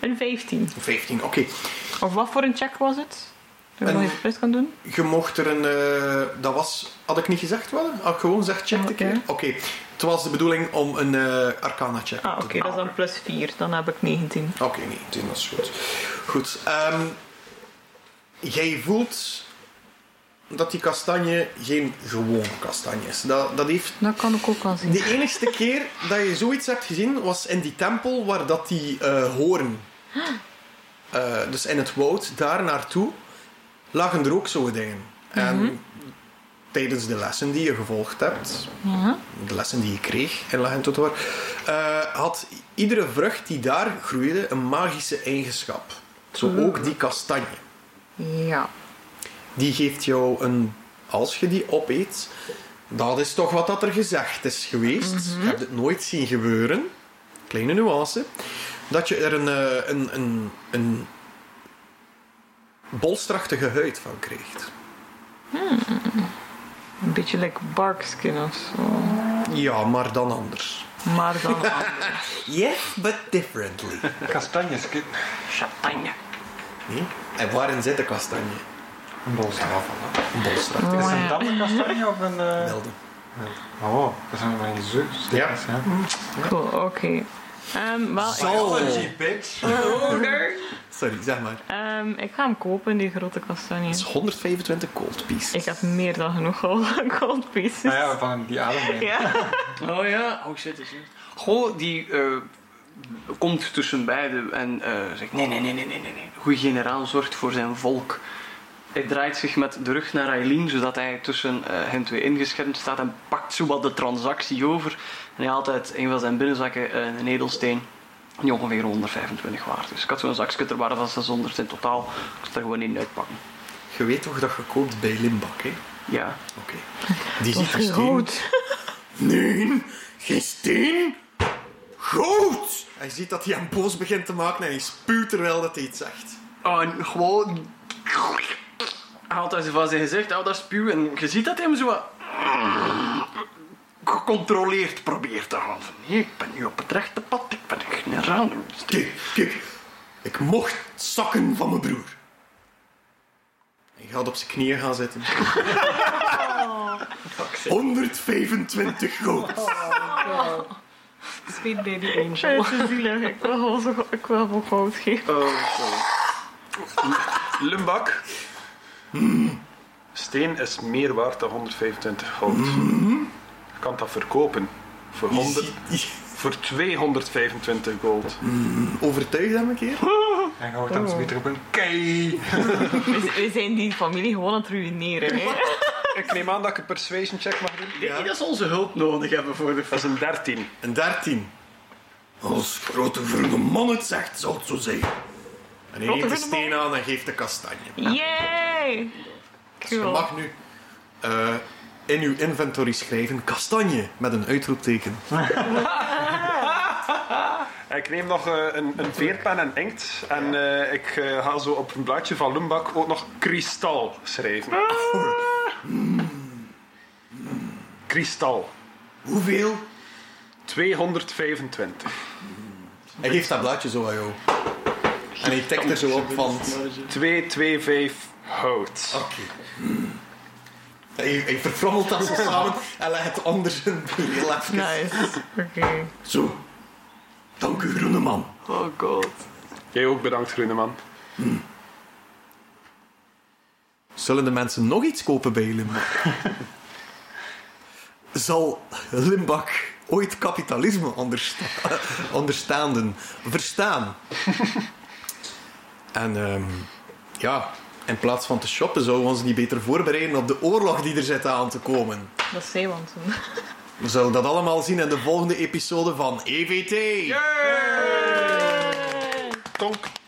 S4: Een 15.
S2: 15, oké.
S4: Of wat voor een check was het? Dat
S2: Een-
S4: ik nog even plus kan doen?
S2: Je mocht er een... eh, dat was... Had ik niet gezegd wel? Had ik gewoon gezegd, check de
S4: Oké.
S2: keer? Oké. Het was de bedoeling om een eh, arcana-check
S4: Ah, oké,
S2: te doen.
S4: dat is dan plus 4. Dan heb ik 19.
S2: Oké, nee, toen was goed. Goed. ehm, jij voelt dat die kastanje geen gewone kastanje is. Dat, dat heeft...
S4: Dat kan ik ook wel zien.
S2: De enigste keer dat je zoiets hebt gezien was in die tempel waar dat die eh, hoorn...
S4: Ah.
S2: eh, dus in het woud, daar naartoe, lagen er ook zo'n dingen. En
S4: Mhm.
S2: tijdens de lessen die je gevolgd hebt,
S4: Ja.
S2: de lessen die je kreeg in Legend Totoor, eh, had iedere vrucht die Mhm. daar groeide een magische eigenschap. Zo ook die kastanje.
S4: Ja.
S2: die geeft jou een... Als je die opeet, dat is toch wat dat er gezegd is geweest. Je hebt het nooit zien gebeuren. Kleine nuance. Dat je er een, eh, een, een, een bolstrachtige huid van krijgt.
S4: Een beetje like barkskin of zo.
S2: Ja, maar dan anders.
S4: Maar dan
S2: Yes, but differently.
S6: Kastanjes, kip.
S3: Champagne.
S2: Nee? En waarin zit de kastanje?
S6: Een bolstraat van dat.
S2: Een bolstrachtige
S4: Oh,
S6: Is het een damme kastanje of een... eh,
S2: melden.
S6: Oh, dat zijn maar niet zo.
S2: Ja.
S4: cool, oké. Ehm, wel, ik-
S2: bitch. Sorry, zeg maar.
S4: ehm, ik ga hem kopen, die grote kastanje.
S2: Dat is 125 gold pieces.
S4: Ik heb meer dan genoeg al gold pieces.
S6: Nou ja, van die adem.
S4: Ja.
S3: Oh ja, oh shit, shit. Goh, die eh, komt tussen beiden en eh, zegt: nee, nee, nee, nee, nee, nee. nee. Goeie generaal zorgt voor zijn volk. Hij draait zich met de rug naar Eileen, zodat hij tussen eh, hen twee ingeschermd staat en pakt zowat de transactie over. En hij haalt uit een van zijn binnenzakken eh, een edelsteen. Die ongeveer 125 waard is. Ik had zo'n zakje er waren van 600 in totaal. Ik zal het er gewoon in uitpakken.
S2: Je weet toch dat je koopt bij Limbak, hè?
S3: Ja.
S2: Oké. Die ziet er steen.
S4: Rood.
S2: Nee, geen steen. Goud! Hij ziet dat hij hem boos begint te maken en hij spuwt terwijl dat hij iets zegt.
S3: En gewoon... Haalt hij ze van zijn gezicht, houdt dat spuw en je ziet dat hij hem zo wat gecontroleerd probeert te houden. Nee, ik ben nu op het rechte pad, ik ben een generaal.
S2: Kijk, kijk. Ik mocht zakken van mijn broer. Hij gaat op zijn knieën gaan zitten.
S3: Oh.
S2: 125 goud.
S4: Sweet baby angel. Het is zielig. Ik wil gewoon zo go- ik wil gewoon goud geven.
S5: Oh, Lumbak. Steen is meer waard dan 125 goud. Je kan dat verkopen voor, 100, voor 225 gold.
S2: Overtuig hem een keer.
S6: En je hoort dan zoiets roepen. Kei!
S4: We, we zijn die familie gewoon aan het ruïneren. Hè?
S5: Ik neem aan dat ik een persuasion check mag doen.
S3: Ja. Dat ze onze hulp nodig hebben voor de
S5: Dat is een 13.
S2: Een 13. Als grote groene man het zegt, zal het zo zijn. En hij neemt de
S4: groene
S2: steen aan en geeft de kastanje.
S4: Yay!
S2: Je
S4: Cool.
S2: mag nu eh, in uw inventory schrijven kastanje met een uitroepteken.
S5: Ik neem nog eh, een, een veerpen en inkt. En eh, ik eh, ga zo op een blaadje van Lumbak ook nog kristal schrijven. Ah. Kristal.
S2: Hoeveel?
S5: 225.
S2: Hij geeft dat blaadje zo aan jou. En hij tikt er zo op van... Oké.
S5: 225 hout.
S2: Hij, hij verfrommelt dat zo samen en legt het onder zijn bril even.
S4: Nice. Oké.
S2: Zo. Dank u, groene man.
S3: Oh god.
S5: Jij ook bedankt, Groeneman.
S2: Hmm. Zullen de mensen nog iets kopen bij Limbak? Zal Limbak ooit kapitalisme ondersta onderstaanden, verstaan? en ehm, ja, in plaats van te shoppen zouden we ons niet beter voorbereiden op de oorlog die er zit aan te komen.
S4: Dat is Zeeland toen.
S2: We zullen dat allemaal zien in E de volgende episode van EVT.
S5: Tonk,